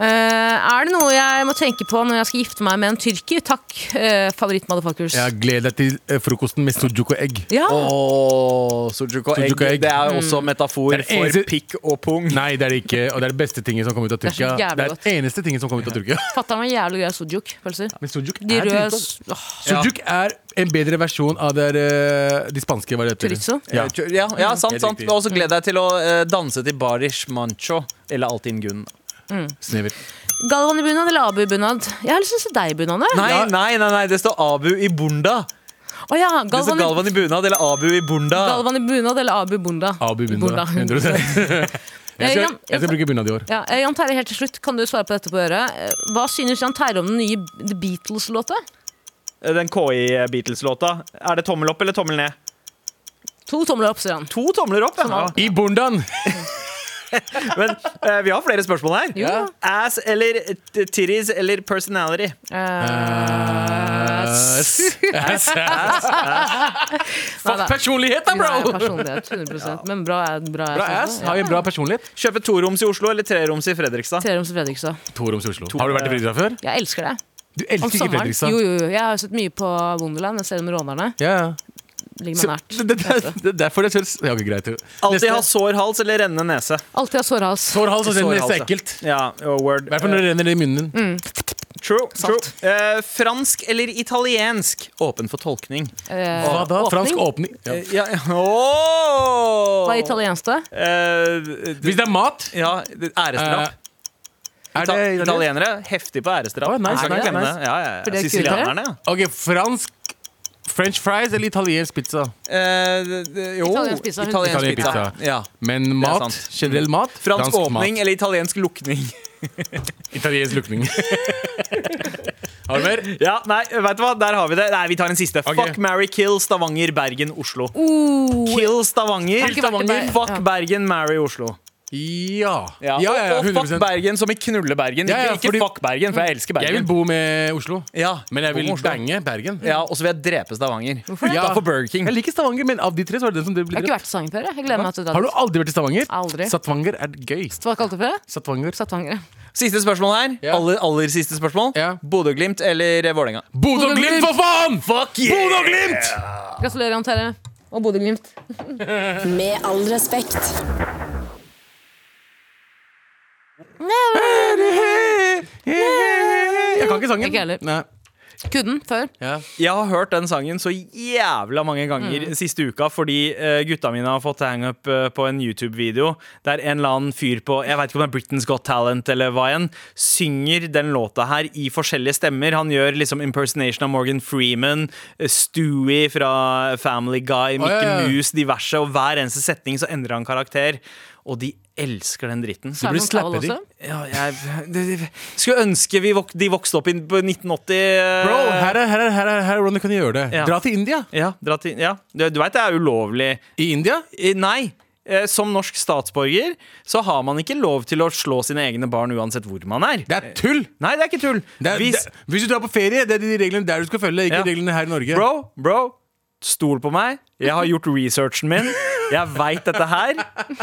[SPEAKER 4] Eh, er det noe jeg må tenke på når jeg skal gifte meg med en tyrker? Takk, uh, favoritt-motherfuckers.
[SPEAKER 3] Jeg gleder deg til eh, frokosten med sujuk og egg.
[SPEAKER 4] Ja.
[SPEAKER 2] Åh, sujuk og egg.
[SPEAKER 3] Sujuk og egg.
[SPEAKER 2] Det er jo også metafor
[SPEAKER 3] Det er det
[SPEAKER 2] for
[SPEAKER 3] eneste-
[SPEAKER 2] pikk og pung.
[SPEAKER 3] Nei, det er det ikke. Og det er det beste tinget som kom ut av
[SPEAKER 4] er så
[SPEAKER 3] Tyrkia.
[SPEAKER 4] jævlig
[SPEAKER 3] Det er
[SPEAKER 4] godt.
[SPEAKER 3] det eneste tinget som kom ut av Tyrkia.
[SPEAKER 4] Fatter'n var jævlig grei sujuk-pølser.
[SPEAKER 3] <laughs> Men sujuk
[SPEAKER 4] De
[SPEAKER 3] er
[SPEAKER 4] røde
[SPEAKER 3] dritgodt.
[SPEAKER 4] s- åh.
[SPEAKER 3] Sujuk er en bedre versjon av det, eh, de spanske hva det heter.
[SPEAKER 4] Chorizo?
[SPEAKER 3] Ja.
[SPEAKER 2] Eh, Ja, ja sant,
[SPEAKER 3] Helt
[SPEAKER 2] sant.
[SPEAKER 3] riktig.
[SPEAKER 2] Og så gleder jeg til å eh, danse til Barish Mancho. Eller Altinn Gunn.
[SPEAKER 3] Snever.
[SPEAKER 4] Galvan i bunad eller Abu i bunad? Jeg har lyst til å se deg i bunad. jeg.
[SPEAKER 2] Nei, nei, nei, nei, det står Abu i Bunda.
[SPEAKER 4] Å ja,
[SPEAKER 2] Det står
[SPEAKER 4] Galvan, i-
[SPEAKER 2] Galvan i bunad eller Abu i Bunda.
[SPEAKER 4] Galvan i bunad eller Abu Bunda?
[SPEAKER 3] Abu
[SPEAKER 4] I
[SPEAKER 3] <laughs> Bunda.
[SPEAKER 4] <laughs>
[SPEAKER 3] 100%. Jeg
[SPEAKER 4] Eh,
[SPEAKER 3] skal,
[SPEAKER 4] Jan-
[SPEAKER 3] jeg skal bruke bunad i år.
[SPEAKER 4] Ja, eh, Jan Terje, helt til slutt, kan du svare på dette på øret? Eh, Hva synes Jan Terje om den nye The Beatles-låta?
[SPEAKER 2] Eh, Den KI-Beatles-låta. Er det tommel opp eller tommel ned?
[SPEAKER 4] To tomler opp, sier han.
[SPEAKER 2] To tomler opp. Ja.
[SPEAKER 3] I bundan!
[SPEAKER 2] Men eh, vi har flere spørsmål her.
[SPEAKER 4] Jo. Ja.
[SPEAKER 2] Ass eller t- titties eller personality?
[SPEAKER 4] Eh,
[SPEAKER 3] Eh,
[SPEAKER 4] Ass. Nei,
[SPEAKER 3] Fuck
[SPEAKER 4] nei.
[SPEAKER 3] personlighet, da,
[SPEAKER 4] Nei,
[SPEAKER 3] bro!
[SPEAKER 4] personlighet,
[SPEAKER 3] <laughs>
[SPEAKER 4] 100 Men bra, er- bra,
[SPEAKER 3] Bra ass. Har vi bra personlighet?
[SPEAKER 2] Kjøpe toroms i Oslo eller treroms i Fredrikstad?
[SPEAKER 4] Treroms og Fredrikstad.
[SPEAKER 3] Toroms i Oslo. Har du vært i Fredrikstad før?
[SPEAKER 4] Jeg elsker det.
[SPEAKER 3] Du
[SPEAKER 4] Om
[SPEAKER 3] elsker ikke
[SPEAKER 4] sommeren.
[SPEAKER 3] Fredrikstad.
[SPEAKER 4] Jo, jo, jo. Jeg har sett mye på Wonderland. Jeg ser om rånerne.
[SPEAKER 3] Ja, ja.
[SPEAKER 4] Ligger
[SPEAKER 3] Så,
[SPEAKER 4] meg nært.
[SPEAKER 3] det, det, det, det er derfor jeg kjører ja, ok, greit.
[SPEAKER 2] Alltid ha sår hals eller rennende nese.
[SPEAKER 4] Alltid har sårhals.
[SPEAKER 3] Sårhals
[SPEAKER 2] Sårhals,
[SPEAKER 3] og nese er
[SPEAKER 2] ja.
[SPEAKER 3] altså. ekkelt.
[SPEAKER 2] Ja, og word.
[SPEAKER 3] I hvert fall når det renner i munnen. din.
[SPEAKER 2] Eh, True. true. Eh, fransk eller italiensk? Åpen for tolkning.
[SPEAKER 4] Eh,
[SPEAKER 3] Hva da?
[SPEAKER 4] åpning.
[SPEAKER 3] Fransk åpning. Ja.
[SPEAKER 2] Eh, ja, oh!
[SPEAKER 4] Hva er italiensk, da?
[SPEAKER 3] Hvis det er mat
[SPEAKER 2] Eh, ja, det- æresdrap.
[SPEAKER 3] eh, er det
[SPEAKER 2] Ita-
[SPEAKER 3] italiensk?
[SPEAKER 2] Italienere heftig på æresdrap.
[SPEAKER 3] Å, nice,
[SPEAKER 2] Vi skal ikke
[SPEAKER 3] nice,
[SPEAKER 2] glemme det.
[SPEAKER 3] nice.
[SPEAKER 2] Ja, ja,
[SPEAKER 4] For
[SPEAKER 2] ja.
[SPEAKER 4] det er
[SPEAKER 2] Sicilianerne, ja.
[SPEAKER 3] Ok, fransk French fries eller italiensk pizza?
[SPEAKER 2] Eh, det- det- jo,
[SPEAKER 4] Italiensk pizza, hun-
[SPEAKER 2] Italiensk
[SPEAKER 3] Italiensk
[SPEAKER 2] pizza.
[SPEAKER 3] pizza.
[SPEAKER 2] Ja.
[SPEAKER 3] Men mat,
[SPEAKER 2] sant.
[SPEAKER 3] generell mat
[SPEAKER 2] Fransk åpning
[SPEAKER 3] mat.
[SPEAKER 2] eller italiensk lukning? <laughs>
[SPEAKER 3] Italiensk lukning. Har du mer?
[SPEAKER 2] Ja, nei, vet du hva? Der har vi det. Nei, Vi tar en siste.
[SPEAKER 3] Ok.
[SPEAKER 2] Fuck, marry, kill Stavanger, Bergen, Oslo.
[SPEAKER 4] Oh,
[SPEAKER 2] Kill Stavanger.
[SPEAKER 4] Har ikke vært i Ber-
[SPEAKER 2] Fuck
[SPEAKER 4] ja.
[SPEAKER 2] Bergen, marry Oslo.
[SPEAKER 3] Ja.
[SPEAKER 2] Ja.
[SPEAKER 3] Ja, ja, ja,
[SPEAKER 2] og, og fuck
[SPEAKER 3] 100
[SPEAKER 2] Bergen som i knulle Bergen.
[SPEAKER 3] Ja, ja,
[SPEAKER 2] ikke ikke
[SPEAKER 3] fordi-
[SPEAKER 2] fuck Bergen, for jeg elsker
[SPEAKER 3] Jeg vil
[SPEAKER 2] Bergen.
[SPEAKER 3] bo med Oslo,
[SPEAKER 2] ja,
[SPEAKER 3] men jeg vil
[SPEAKER 2] Bom Oslo.
[SPEAKER 3] bange Bergen.
[SPEAKER 2] Ja, Og så vil jeg drepe Stavanger.
[SPEAKER 4] Hvorfor det?
[SPEAKER 2] Utenfor Burger King.
[SPEAKER 3] Jeg liker Stavanger, men av de tre så var det den som det
[SPEAKER 4] jeg
[SPEAKER 3] ble
[SPEAKER 4] har ikke
[SPEAKER 3] drept.
[SPEAKER 4] vært i Stavanger før. Jeg. Jeg gleder meg til det.
[SPEAKER 3] Har du aldri vært i Stavanger?
[SPEAKER 4] Aldri.
[SPEAKER 3] Stavanger er gøy.
[SPEAKER 4] Hva kalte du det?
[SPEAKER 3] Stavanger.
[SPEAKER 4] Stavanger.
[SPEAKER 2] Siste spørsmål her.
[SPEAKER 3] Ja.
[SPEAKER 2] Aller, aller siste spørsmål.
[SPEAKER 3] Ja.
[SPEAKER 2] Bodø-Glimt eller Vålerenga?
[SPEAKER 3] Bodø-Glimt, for faen! Fuck yeah! Bodø-Glimt!
[SPEAKER 4] Gratulerer, Jan Terje. Og Bodø-Glimt.
[SPEAKER 1] Med all respekt.
[SPEAKER 3] Jeg kan ikke sånn sangen.
[SPEAKER 4] Ikke heller.
[SPEAKER 3] Nei.
[SPEAKER 4] Kunne den før.
[SPEAKER 3] Ja.
[SPEAKER 2] Jeg har hørt den sangen så jævla mange
[SPEAKER 3] Mm.
[SPEAKER 2] ganger siste uka fordi eh, gutta mine har fått hangup eh, på en YouTube-video der en eller annen fyr på Jeg vet ikke om det er Britain's Got Talent eller hva enn, synger den låta her i forskjellige stemmer. Han gjør liksom impersonation av Morgan Freeman, eh, Stewie fra Family Guy, Mickey
[SPEAKER 3] ja, ja.
[SPEAKER 2] Mouse, diverse, og hver eneste setning så endrer han karakter. Og de elsker den dritten.
[SPEAKER 4] Simon
[SPEAKER 3] slappe
[SPEAKER 4] Cowell
[SPEAKER 3] de.
[SPEAKER 4] også.
[SPEAKER 2] Ja, jeg det- det- skulle ønske vi vok de vokste opp i på eh, 1980.
[SPEAKER 3] Bro, her er, her, er, her, er, her er hvordan du kan gjøre det.
[SPEAKER 2] Ja.
[SPEAKER 3] Dra til India.
[SPEAKER 2] Ja, dra til, ja. Du, du veit det er ulovlig.
[SPEAKER 3] I India?
[SPEAKER 2] Eh, Nei. eh, Som norsk statsborger så har man ikke lov til å slå sine egne barn uansett hvor man er. Eh,
[SPEAKER 3] Det er tull!
[SPEAKER 2] Nei, det er ikke tull.
[SPEAKER 3] Det er,
[SPEAKER 2] Hvis,
[SPEAKER 3] det, hvis du drar på ferie, det er de reglene der du skal følge, ikke
[SPEAKER 2] Ja.
[SPEAKER 3] reglene her i Norge.
[SPEAKER 2] bro, bro, stol på meg. Jeg har gjort researchen min. Jeg veit dette her.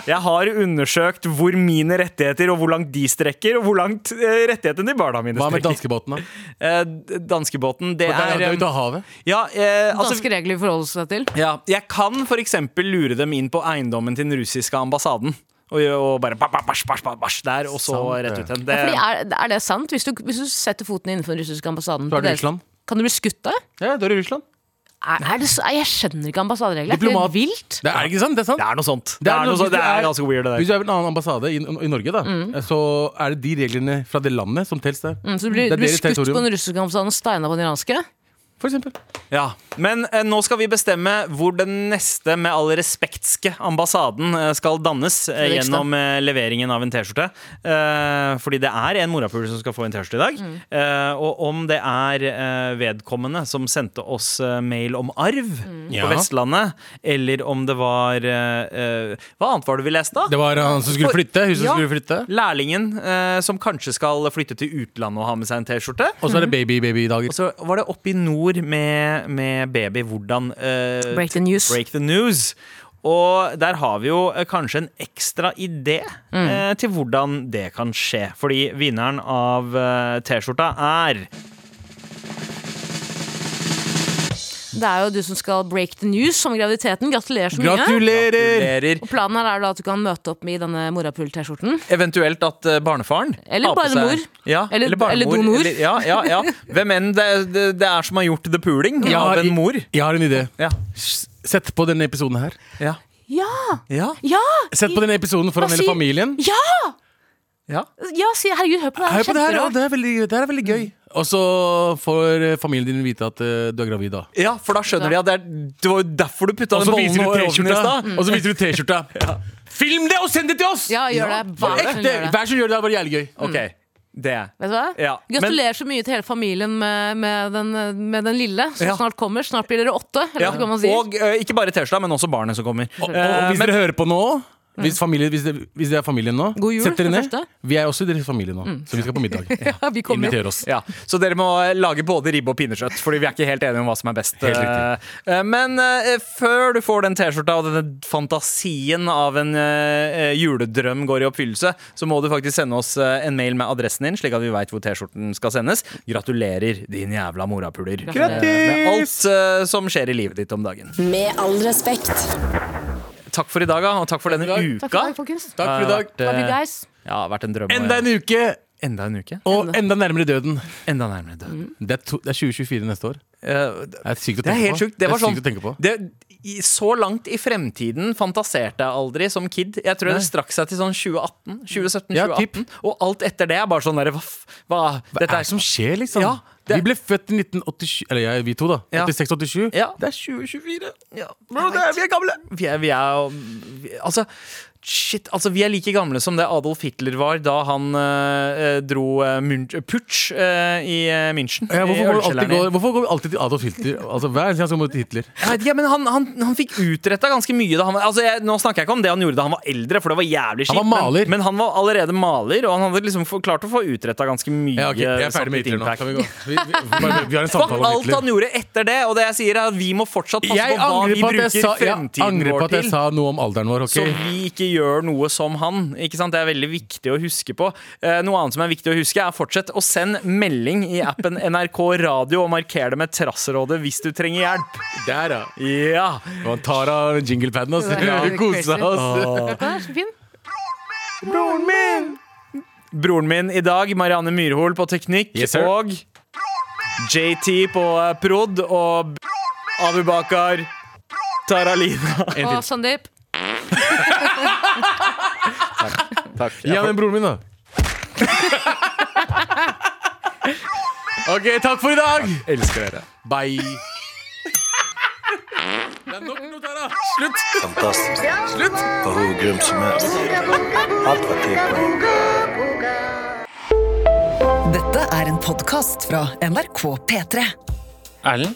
[SPEAKER 2] Jeg har undersøkt hvor mine rettigheter og hvor langt de strekker, og hvor langt eh, rettighetene til barna mine
[SPEAKER 3] Hva med
[SPEAKER 2] strekker.
[SPEAKER 3] danskebåten, da?
[SPEAKER 2] Eh, d- danskebåten, det
[SPEAKER 3] Det er, det
[SPEAKER 2] er
[SPEAKER 3] er ute
[SPEAKER 2] eh,
[SPEAKER 3] av havet.
[SPEAKER 2] Ja, eh, altså
[SPEAKER 4] Danske regler forholder seg til.
[SPEAKER 2] Ja, jeg kan for eksempel lure dem inn på eiendommen til den russiske ambassaden. Og, gjøre- og bare ba, ba, basj, basj, basj, basj, der, og så
[SPEAKER 3] Sant det.
[SPEAKER 2] rett ut igjen.
[SPEAKER 4] Ja, fordi
[SPEAKER 2] Det-
[SPEAKER 4] er, er det sant? Hvis du, hvis du setter foten innenfor den russiske ambassaden
[SPEAKER 3] Så er det
[SPEAKER 4] på deres-
[SPEAKER 3] Russland.
[SPEAKER 4] Kan du bli skutt da?
[SPEAKER 3] Ja, du er i Russland.
[SPEAKER 4] Er, er det, så- nei, jeg skjønner ikke ambassaderegler.
[SPEAKER 3] Diplomat.
[SPEAKER 4] Det er vilt.
[SPEAKER 3] Det er ikke sant? Det er sant.
[SPEAKER 2] Det er noe sånt. Det er, noe sånt. Det er ganske weird, det
[SPEAKER 3] Hvis
[SPEAKER 2] der. Mm.
[SPEAKER 3] du er ved en annen ambassade i, i Norge, da, eh, så er det de reglene fra det landet som telles der.
[SPEAKER 4] Mm, Så du blir,
[SPEAKER 3] det
[SPEAKER 4] du
[SPEAKER 3] er
[SPEAKER 4] blir
[SPEAKER 3] deres
[SPEAKER 4] skutt på
[SPEAKER 3] territorium.
[SPEAKER 4] den russiske ambassaden og steina på den iranske?
[SPEAKER 3] For eksempel.
[SPEAKER 2] Ja. Men eh, nå skal vi bestemme hvor den neste, med all respektske, ambassaden eh, skal dannes eh,
[SPEAKER 4] Fredrikstad.
[SPEAKER 2] gjennom eh, leveringen av en T-skjorte. Eh, fordi det er en morapuler som skal få en T-skjorte i dag. Eh, og om det er eh, vedkommende som sendte oss eh, mail om arv
[SPEAKER 3] Ja.
[SPEAKER 2] på Vestlandet, eller om det var eh, eh, Hva annet var det vi leste, da?
[SPEAKER 3] Det var han som skulle flytte. Huset
[SPEAKER 2] Ja.
[SPEAKER 3] skulle flytte.
[SPEAKER 2] Lærlingen eh, som kanskje skal flytte til utlandet og ha med seg en T-skjorte.
[SPEAKER 3] Og så er det baby-baby-dager.
[SPEAKER 2] Og så var det oppe i nord med, med baby hvordan eh,
[SPEAKER 4] Break the news.
[SPEAKER 2] break the news. Og der har vi jo eh, kanskje en ekstra idé
[SPEAKER 4] Mm.
[SPEAKER 2] eh, til hvordan det kan skje. Fordi vinneren av eh, T-skjorta er
[SPEAKER 4] Det er jo du som skal break the news om graviditeten. Gratulerer så mye.
[SPEAKER 3] Gratulerer!
[SPEAKER 2] Gratulerer.
[SPEAKER 4] Og planen her er da at du kan møte opp med i denne morapul-T-skjorten.
[SPEAKER 2] Eventuelt at eh, barnefaren
[SPEAKER 4] Eller
[SPEAKER 2] har på seg-
[SPEAKER 4] barnemor.
[SPEAKER 2] Ja,
[SPEAKER 4] Eller-
[SPEAKER 2] eller, barnemor.
[SPEAKER 4] eller domor.
[SPEAKER 2] Eller, ja, ja, ja. Hvem enn det, det, det er som har gjort the pooling
[SPEAKER 3] Jeg har-
[SPEAKER 2] av en mor.
[SPEAKER 3] Jeg har en idé.
[SPEAKER 2] Ja,
[SPEAKER 3] S- Sett på denne episoden her.
[SPEAKER 2] ja,
[SPEAKER 4] Ja!
[SPEAKER 2] ja,
[SPEAKER 4] Ja!
[SPEAKER 3] Sett på denne episoden foran
[SPEAKER 4] Hva
[SPEAKER 3] hele
[SPEAKER 4] sier-
[SPEAKER 3] familien.
[SPEAKER 4] Ja!
[SPEAKER 2] ja.
[SPEAKER 4] ja sier jeg. herregud, hør på det.
[SPEAKER 3] Hør på det her, ja,
[SPEAKER 4] kjemperart.
[SPEAKER 3] det, er veldig, det her er veldig gøy. Og så får eh, familien din vite at eh, du er gravid da.
[SPEAKER 2] Ja, for da skjønner de at det, er, det var jo derfor du putta
[SPEAKER 3] Og
[SPEAKER 2] den
[SPEAKER 3] så
[SPEAKER 2] bollen
[SPEAKER 3] viser
[SPEAKER 2] over
[SPEAKER 3] du
[SPEAKER 2] ovnen i
[SPEAKER 3] T-skjorta.
[SPEAKER 2] stad.
[SPEAKER 3] Og så viser du T-skjorta.
[SPEAKER 2] <laughs>
[SPEAKER 3] Film det og send det til oss!
[SPEAKER 4] Ja, gjør det. Bare
[SPEAKER 3] Ekte.
[SPEAKER 4] sånn gjør det.
[SPEAKER 3] Vær så snill, gjør det. Det er bare jævlig gøy.
[SPEAKER 2] OK. Det.
[SPEAKER 4] Vet du hva?
[SPEAKER 2] Ja, men-
[SPEAKER 4] Gratulerer så mye til hele familien med, med, den, med den lille som
[SPEAKER 2] Ja.
[SPEAKER 4] snart kommer. Snart blir dere åtte. Eller
[SPEAKER 2] Ja.
[SPEAKER 4] hva man sier.
[SPEAKER 2] Og eh, ikke bare T-skjorta, men også barnet som kommer. Eh,
[SPEAKER 3] Og, og hvis dere hører på nå hvis, familie, hvis, det, hvis det er familien nå,
[SPEAKER 4] God jul,
[SPEAKER 3] sett dere
[SPEAKER 4] for
[SPEAKER 3] ned.
[SPEAKER 4] første.
[SPEAKER 3] Vi er også i deres familie
[SPEAKER 2] Mm.
[SPEAKER 3] nå, så vi skal på
[SPEAKER 2] <laughs>
[SPEAKER 3] middag.
[SPEAKER 4] Ja, vi kommer.
[SPEAKER 3] Inviter oss.
[SPEAKER 2] Ja, Så dere må lage både ribbe og pinnekjøtt, Fordi vi er ikke helt enige om hva som er best.
[SPEAKER 3] Helt riktig.
[SPEAKER 2] Eh, Men eh, før du får den T-skjorta og denne fantasien av en eh, juledrøm går i oppfyllelse, så må du faktisk sende oss eh, en mail med adressen din, slik at vi veit hvor T-skjorten skal sendes. Gratulerer, din jævla morapuler.
[SPEAKER 4] Gratulerer.
[SPEAKER 2] Eh, Med alt eh, som skjer i livet ditt om dagen.
[SPEAKER 1] Med all respekt.
[SPEAKER 2] Takk for i dag, da, og takk for denne uka.
[SPEAKER 4] Takk for i dag, folkens.
[SPEAKER 3] <laughs> Takk for i dag.
[SPEAKER 2] Det har vært,
[SPEAKER 4] Love you
[SPEAKER 2] eh,
[SPEAKER 4] guys.
[SPEAKER 2] ja, vært en drøm.
[SPEAKER 3] Eh,
[SPEAKER 2] eh.
[SPEAKER 3] Enda en uke,
[SPEAKER 2] enda en
[SPEAKER 4] Mm.
[SPEAKER 2] uke.
[SPEAKER 3] og enda nærmere døden.
[SPEAKER 2] Enda nærmere døden.
[SPEAKER 3] Det er, to, det er 2024 neste år.
[SPEAKER 2] Eh,
[SPEAKER 3] Det er sykt å tenke på.
[SPEAKER 2] Det er helt sjukt. Det var
[SPEAKER 3] er
[SPEAKER 2] sånn
[SPEAKER 3] sykt å tenke på.
[SPEAKER 2] det, i, Så langt i fremtiden fantaserte jeg aldri som kid. Jeg tror det strakk seg til sånn 2018. 2017,
[SPEAKER 3] Ja,
[SPEAKER 2] 2018 Og alt etter det er bare sånn derre hva, f- hva,
[SPEAKER 3] Hva
[SPEAKER 2] Dette
[SPEAKER 3] er det
[SPEAKER 2] er
[SPEAKER 3] som skjer, liksom?
[SPEAKER 2] Ja, det-
[SPEAKER 3] Vi ble født i 1987 Eller jeg, vi to, da.
[SPEAKER 2] Ja.
[SPEAKER 3] 86-87.
[SPEAKER 2] Ja.
[SPEAKER 3] Det er 2024.
[SPEAKER 2] ja, bro, det er, Vi er gamle! Vi er, vi er vi, Altså Shit, altså Vi er like gamle som det Adolf Hitler var da han eh, dro eh, Mun- Putsch eh, i eh, München.
[SPEAKER 3] Ja,
[SPEAKER 2] i
[SPEAKER 3] hvorfor, går vi alltid,
[SPEAKER 2] ølkjelleren i-
[SPEAKER 3] går, hvorfor går vi alltid til Adolf Hitler? Altså, hver eneste gang så må vi til Hitler.
[SPEAKER 2] Jeg vet ikke, men han, han, han fikk utretta ganske mye. Da han, var- altså jeg, nå snakker jeg ikke om det han gjorde da han var eldre, for det var jævlig
[SPEAKER 3] Han
[SPEAKER 2] kjipt.
[SPEAKER 3] var maler.
[SPEAKER 2] Men, men han var allerede maler, og han hadde liksom få- klart å få utretta ganske mye.
[SPEAKER 3] Ja, ok, Jeg er
[SPEAKER 2] satt
[SPEAKER 3] ferdig med
[SPEAKER 2] litt
[SPEAKER 3] Hitler nå.
[SPEAKER 2] impact.
[SPEAKER 3] Kan vi, gå? Vi, vi, bare- vi har en
[SPEAKER 2] Fuck
[SPEAKER 3] samtale om
[SPEAKER 2] alt han
[SPEAKER 3] Hitler.
[SPEAKER 2] gjorde etter det, og det jeg sier er at vi må fortsatt passe Altså,
[SPEAKER 3] Jeg
[SPEAKER 2] på hva
[SPEAKER 3] angrer
[SPEAKER 2] vi
[SPEAKER 3] på at
[SPEAKER 2] bruker
[SPEAKER 3] jeg, sa, jeg
[SPEAKER 2] fremtiden
[SPEAKER 3] angrer på
[SPEAKER 2] vår
[SPEAKER 3] at jeg
[SPEAKER 2] til.
[SPEAKER 3] sa noe om alderen vår.
[SPEAKER 2] Så
[SPEAKER 3] ok?
[SPEAKER 2] vi ikke gjør noe som han. Ikke sant? Det er veldig viktig å huske på. Eh, noe annet som er viktig å huske, er fortsett å sende melding i appen NRK Radio og marker det med Trasserådet hvis du trenger hjelp.
[SPEAKER 3] Der, ja.
[SPEAKER 2] Ja!
[SPEAKER 3] Man tar av jinglepaden og
[SPEAKER 4] Det er
[SPEAKER 3] koser
[SPEAKER 4] crazy.
[SPEAKER 3] oss.
[SPEAKER 4] Hørte du det? Så fin.
[SPEAKER 3] Broren min!
[SPEAKER 2] Broren min i dag, Marianne Myrhol på teknikk,
[SPEAKER 3] Yes, sir.
[SPEAKER 2] og JT på eh, prod, og Abubakar Taralina.
[SPEAKER 4] Og Sandeep.
[SPEAKER 3] Gi ham den
[SPEAKER 2] <laughs>
[SPEAKER 3] broren min, da. OK, takk for i dag.
[SPEAKER 2] Elsker dere.
[SPEAKER 3] Bye. Det er nok nå, Tara. Slutt.
[SPEAKER 5] Fantastiskt. Slut! Var hur grym som helst. Allt var teko.
[SPEAKER 9] Dette er en podkast fra NRK P3.
[SPEAKER 10] Erlend,